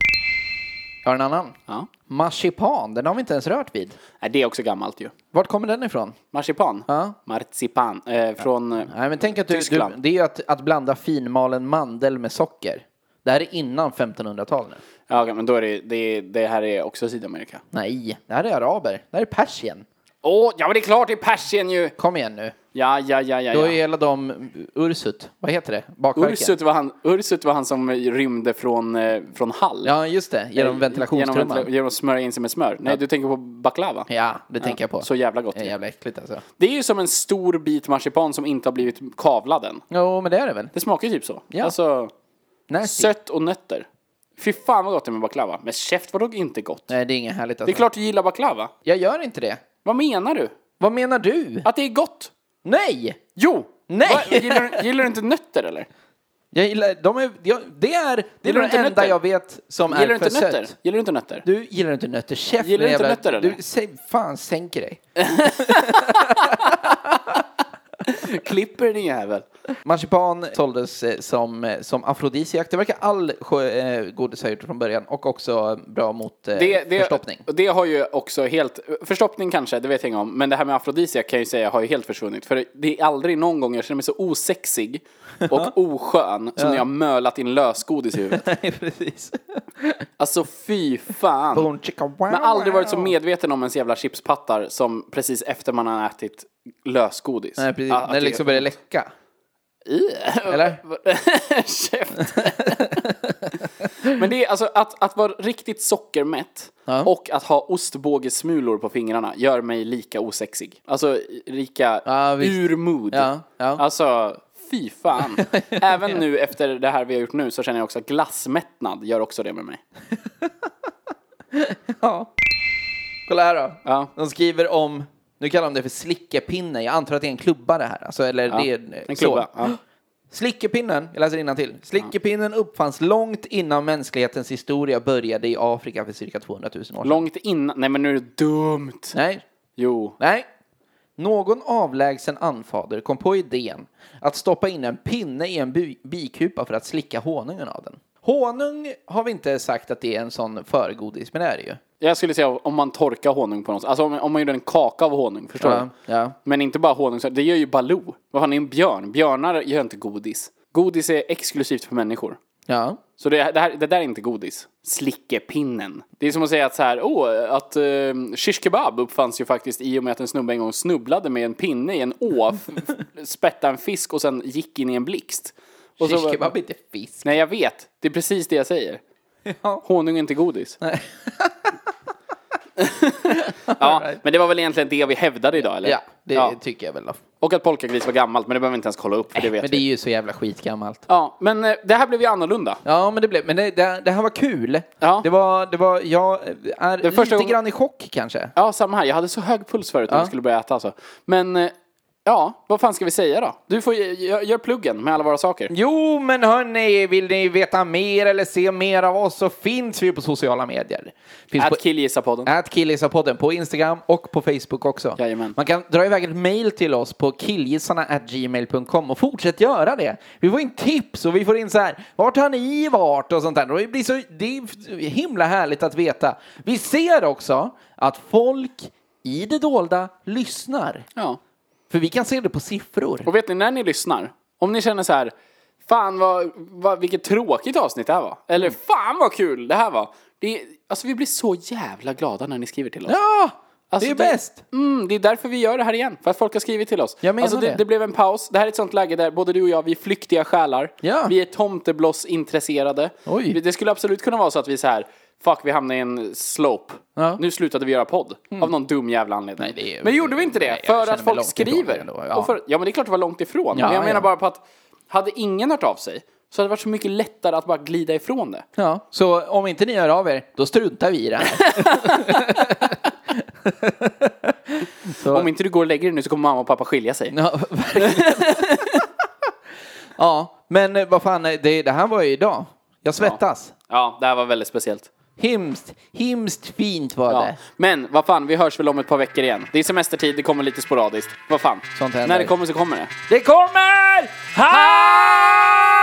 Speaker 2: Jag har en annan.
Speaker 1: Ja.
Speaker 2: Marsipan, den har vi inte ens rört vid.
Speaker 1: Nej, det är också gammalt ju.
Speaker 2: Vart kommer den ifrån?
Speaker 1: Marsipan.
Speaker 2: Ja.
Speaker 1: Marzipan. Eh, från... eh,
Speaker 2: Nej, men tänk att du, du,
Speaker 1: Tyskland.
Speaker 2: det är ju att, att blanda finmalen mandel med socker. Det här är innan 1500-talet. nu.
Speaker 1: Ja, okej, men då är det, det, det här är också Sydamerika.
Speaker 2: Nej, det här är araber. Det här är Persien.
Speaker 1: Åh, ja men det är klart det är Persien ju!
Speaker 2: Kom igen nu.
Speaker 1: Ja, ja, ja, ja.
Speaker 2: Då är
Speaker 1: ja.
Speaker 2: hela de Ursut, vad heter det? Bakverken.
Speaker 1: Ursut var, han, Ursut var han som rymde från, eh, från Hall.
Speaker 2: Ja, just det. Genom ventilationstrumman.
Speaker 1: Eh, Genom, genom att smörja in sig med smör. Nej, du tänker på baklava.
Speaker 2: Ja, det tänker jag på.
Speaker 1: Så jävla gott.
Speaker 2: Det är jävla äckligt alltså.
Speaker 1: Det är ju som en stor bit marsipan som inte har blivit kavlad än.
Speaker 2: Jo, men det är det väl?
Speaker 1: Det smakar ju typ så.
Speaker 2: Ja. typ.
Speaker 1: Alltså,
Speaker 2: Nasty.
Speaker 1: sött och nötter. Fy fan vad gott det är med baklava. Men käft vadå inte gott?
Speaker 2: Nej, det är inget härligt
Speaker 1: Det
Speaker 2: alltså.
Speaker 1: är klart du gillar baklava.
Speaker 2: Jag gör inte det.
Speaker 1: Vad menar du?
Speaker 2: Vad menar du?
Speaker 1: Att det är gott?
Speaker 2: Nej!
Speaker 1: Jo!
Speaker 2: Nej!
Speaker 1: Va? Gillar, du- gillar du inte nötter eller?
Speaker 2: Jag gillar, de är, jag, det är, det är
Speaker 1: Gillar du
Speaker 2: de
Speaker 1: inte
Speaker 2: enda
Speaker 1: nötter?
Speaker 2: jag vet som
Speaker 1: Gillar du
Speaker 2: är för
Speaker 1: inte nötter?
Speaker 2: sött.
Speaker 1: Gillar du inte nötter?
Speaker 2: Du gillar inte nötter, chef.
Speaker 1: Gillar du inte
Speaker 2: jävla-
Speaker 1: nötter, eller?
Speaker 2: Du, säg, fan, sänker dig.
Speaker 1: klipper din jävel.
Speaker 2: Marsipan såldes eh, som, eh, som afrodisiak. Det verkar all sjö- eh, godis ha gjort från början och också bra mot eh,
Speaker 1: Det, det,
Speaker 2: förstoppning. <laughs>
Speaker 1: Det har ju också helt, förstoppning kanske, det vet jag inget om. Men det här med afrodisiak kan jag ju säga har ju helt försvunnit. För det är aldrig någon gång jag känner mig så osexig och oskön som när jag har mölat in lösgodis i huvudet.
Speaker 2: Nej, precis.
Speaker 1: Alltså fy fan.
Speaker 2: Boom, chicka, wow,
Speaker 1: Man har aldrig varit så
Speaker 2: wow.
Speaker 1: medveten om ens jävla chipspattar som precis efter man har ätit lösgodis.
Speaker 2: Nej, precis.
Speaker 1: Ah, att
Speaker 2: När det liksom börjar läcka.
Speaker 1: <laughs>
Speaker 2: Eller?
Speaker 1: Käft. Men det är alltså att, att vara riktigt sockermätt
Speaker 2: Ja.
Speaker 1: och att ha ostbågesmulor på fingrarna gör mig lika osexig. Alltså lika
Speaker 2: Ja, visst.
Speaker 1: ur mood.
Speaker 2: Ja, ja.
Speaker 1: Alltså fy
Speaker 2: <laughs>
Speaker 1: fan. Även nu efter det här vi har gjort nu så känner jag också att glassmättnad gör också det med mig.
Speaker 2: Ja. Kolla här då.
Speaker 1: Ja.
Speaker 2: De skriver om, nu kallar de det för slickepinne. Jag antar att det är en klubba det här. Alltså, eller det är
Speaker 1: En
Speaker 2: så.
Speaker 1: klubba. Ja.
Speaker 2: Slickepinnen, jag läser till. Slickepinnen uppfanns långt innan mänsklighetens historia började i Afrika för cirka 200 000 år sedan.
Speaker 1: Långt innan. Nej men nu är det dumt.
Speaker 2: Nej,
Speaker 1: Jo.
Speaker 2: nej. Någon avlägsen anfader kom på idén att stoppa in en pinne i en by- bikupa för att slicka honungen av den. Honung har vi inte sagt att det är en sån förgodis, men det är det ju.
Speaker 1: Jag skulle säga om man torkar honung på något Alltså om, om man gjorde en kaka av honung, förstår
Speaker 2: Ja,
Speaker 1: du?
Speaker 2: ja.
Speaker 1: Men inte bara honung, så- det gör ju Baloo. Vad fan är en björn? Björnar gör inte godis. Godis är exklusivt för människor.
Speaker 2: Ja.
Speaker 1: Så det, det, här, det där är inte godis. Slickepinnen. Det är som att säga att så här, åh, att uh, shish kebab uppfanns ju faktiskt i och med att en snubbe en gång snubblade med en pinne i en å, f- f- <laughs> spättade en fisk och sen gick in i en blixt. Och så-
Speaker 2: Shish kebab är inte fisk.
Speaker 1: Nej, jag vet. Det är precis det jag säger. Honung är inte godis. <laughs>
Speaker 2: <laughs>
Speaker 1: ja, men det var väl egentligen det vi hävdade idag, eller?
Speaker 2: Ja, det tycker jag väl. Då.
Speaker 1: Och att polkagris var gammalt, men det behöver vi inte ens kolla upp, för det vet
Speaker 2: Men det är
Speaker 1: vi.
Speaker 2: ju så jävla skitgammalt.
Speaker 1: Ja, men eh, det här blev ju annorlunda.
Speaker 2: Ja, men det blev, men det, det, det här var kul.
Speaker 1: Ja.
Speaker 2: Det var, det var, jag eh, är
Speaker 1: är första
Speaker 2: lite
Speaker 1: gången-
Speaker 2: grann i chock kanske.
Speaker 1: Ja, samma här. Jag hade så hög puls förut när vi skulle börja äta, alltså. Men, eh, ja, vad fan ska vi säga då? Du får ge- gö- gör pluggen med alla våra saker.
Speaker 2: Jo, men hörni, vill ni veta mer eller se mer av oss så finns vi på sociala medier. Finns på
Speaker 1: Att killgissa-podden.
Speaker 2: At killgissarpodden på Instagram och på Facebook också.
Speaker 1: Jajamän.
Speaker 2: Man kan dra iväg ett mail till oss på killgissarna.gmail.com och fortsätt göra det. Vi får in tips och vi får in så här, vart har ni varit och sånt där. Och Det, blir så, det är himla härligt att veta. Vi ser också att folk i det dolda lyssnar.
Speaker 1: Ja.
Speaker 2: För vi kan se det på siffror.
Speaker 1: Och vet ni, när ni lyssnar, om ni känner så här, fan vad, vad, vilket tråkigt avsnitt det här var. Eller fan vad kul det här var. Det, är- alltså vi blir så jävla glada när ni skriver till oss.
Speaker 2: Ja,
Speaker 1: Alltså,
Speaker 2: det är bäst.
Speaker 1: Mm, det är därför vi gör det här igen. För att folk har skrivit till oss.
Speaker 2: Jag menar
Speaker 1: alltså, det.
Speaker 2: det.
Speaker 1: det blev en paus. Det här är ett sånt läge där både du och jag, vi är flyktiga själar.
Speaker 2: Ja.
Speaker 1: Vi är tomtebloss-intresserade.
Speaker 2: Oj.
Speaker 1: Vi- Det skulle absolut kunna vara så att vi så här, fuck vi hamnade i en slope.
Speaker 2: Ja. Mm.
Speaker 1: Nu slutade vi göra podd. Av någon dum jävla anledning.
Speaker 2: Nej, det är-
Speaker 1: men gjorde vi inte det?
Speaker 2: Nej, jag
Speaker 1: för
Speaker 2: känner
Speaker 1: att
Speaker 2: mig
Speaker 1: folk
Speaker 2: långt ifrån det
Speaker 1: skriver.
Speaker 2: ändå,
Speaker 1: Ja.
Speaker 2: ja.
Speaker 1: Och för, ja men det är klart det var långt ifrån.
Speaker 2: Ja,
Speaker 1: men jag menar
Speaker 2: ja.
Speaker 1: bara på att, hade ingen hört av sig så hade det varit så mycket lättare att bara glida ifrån det.
Speaker 2: Ja, så om inte ni hör av er, då struntar vi i
Speaker 1: <laughs>
Speaker 2: det här. <laughs> så,
Speaker 1: Om inte du går och lägger dig nu så kommer mamma och pappa skilja sig.
Speaker 2: ja, <laughs> verkligen. ja, men eh, vad fan, eh, det, det här var ju idag. Jag svettas.
Speaker 1: Ja, det här var väldigt speciellt.
Speaker 2: Himskt, himskt fint var
Speaker 1: Ja.
Speaker 2: det.
Speaker 1: Men vad fan, vi hörs väl om ett par veckor igen. Det är semestertid, det kommer lite sporadiskt. Vad fan.
Speaker 2: Sånt händer.
Speaker 1: När det kommer så kommer det.
Speaker 2: Det kommer! Här!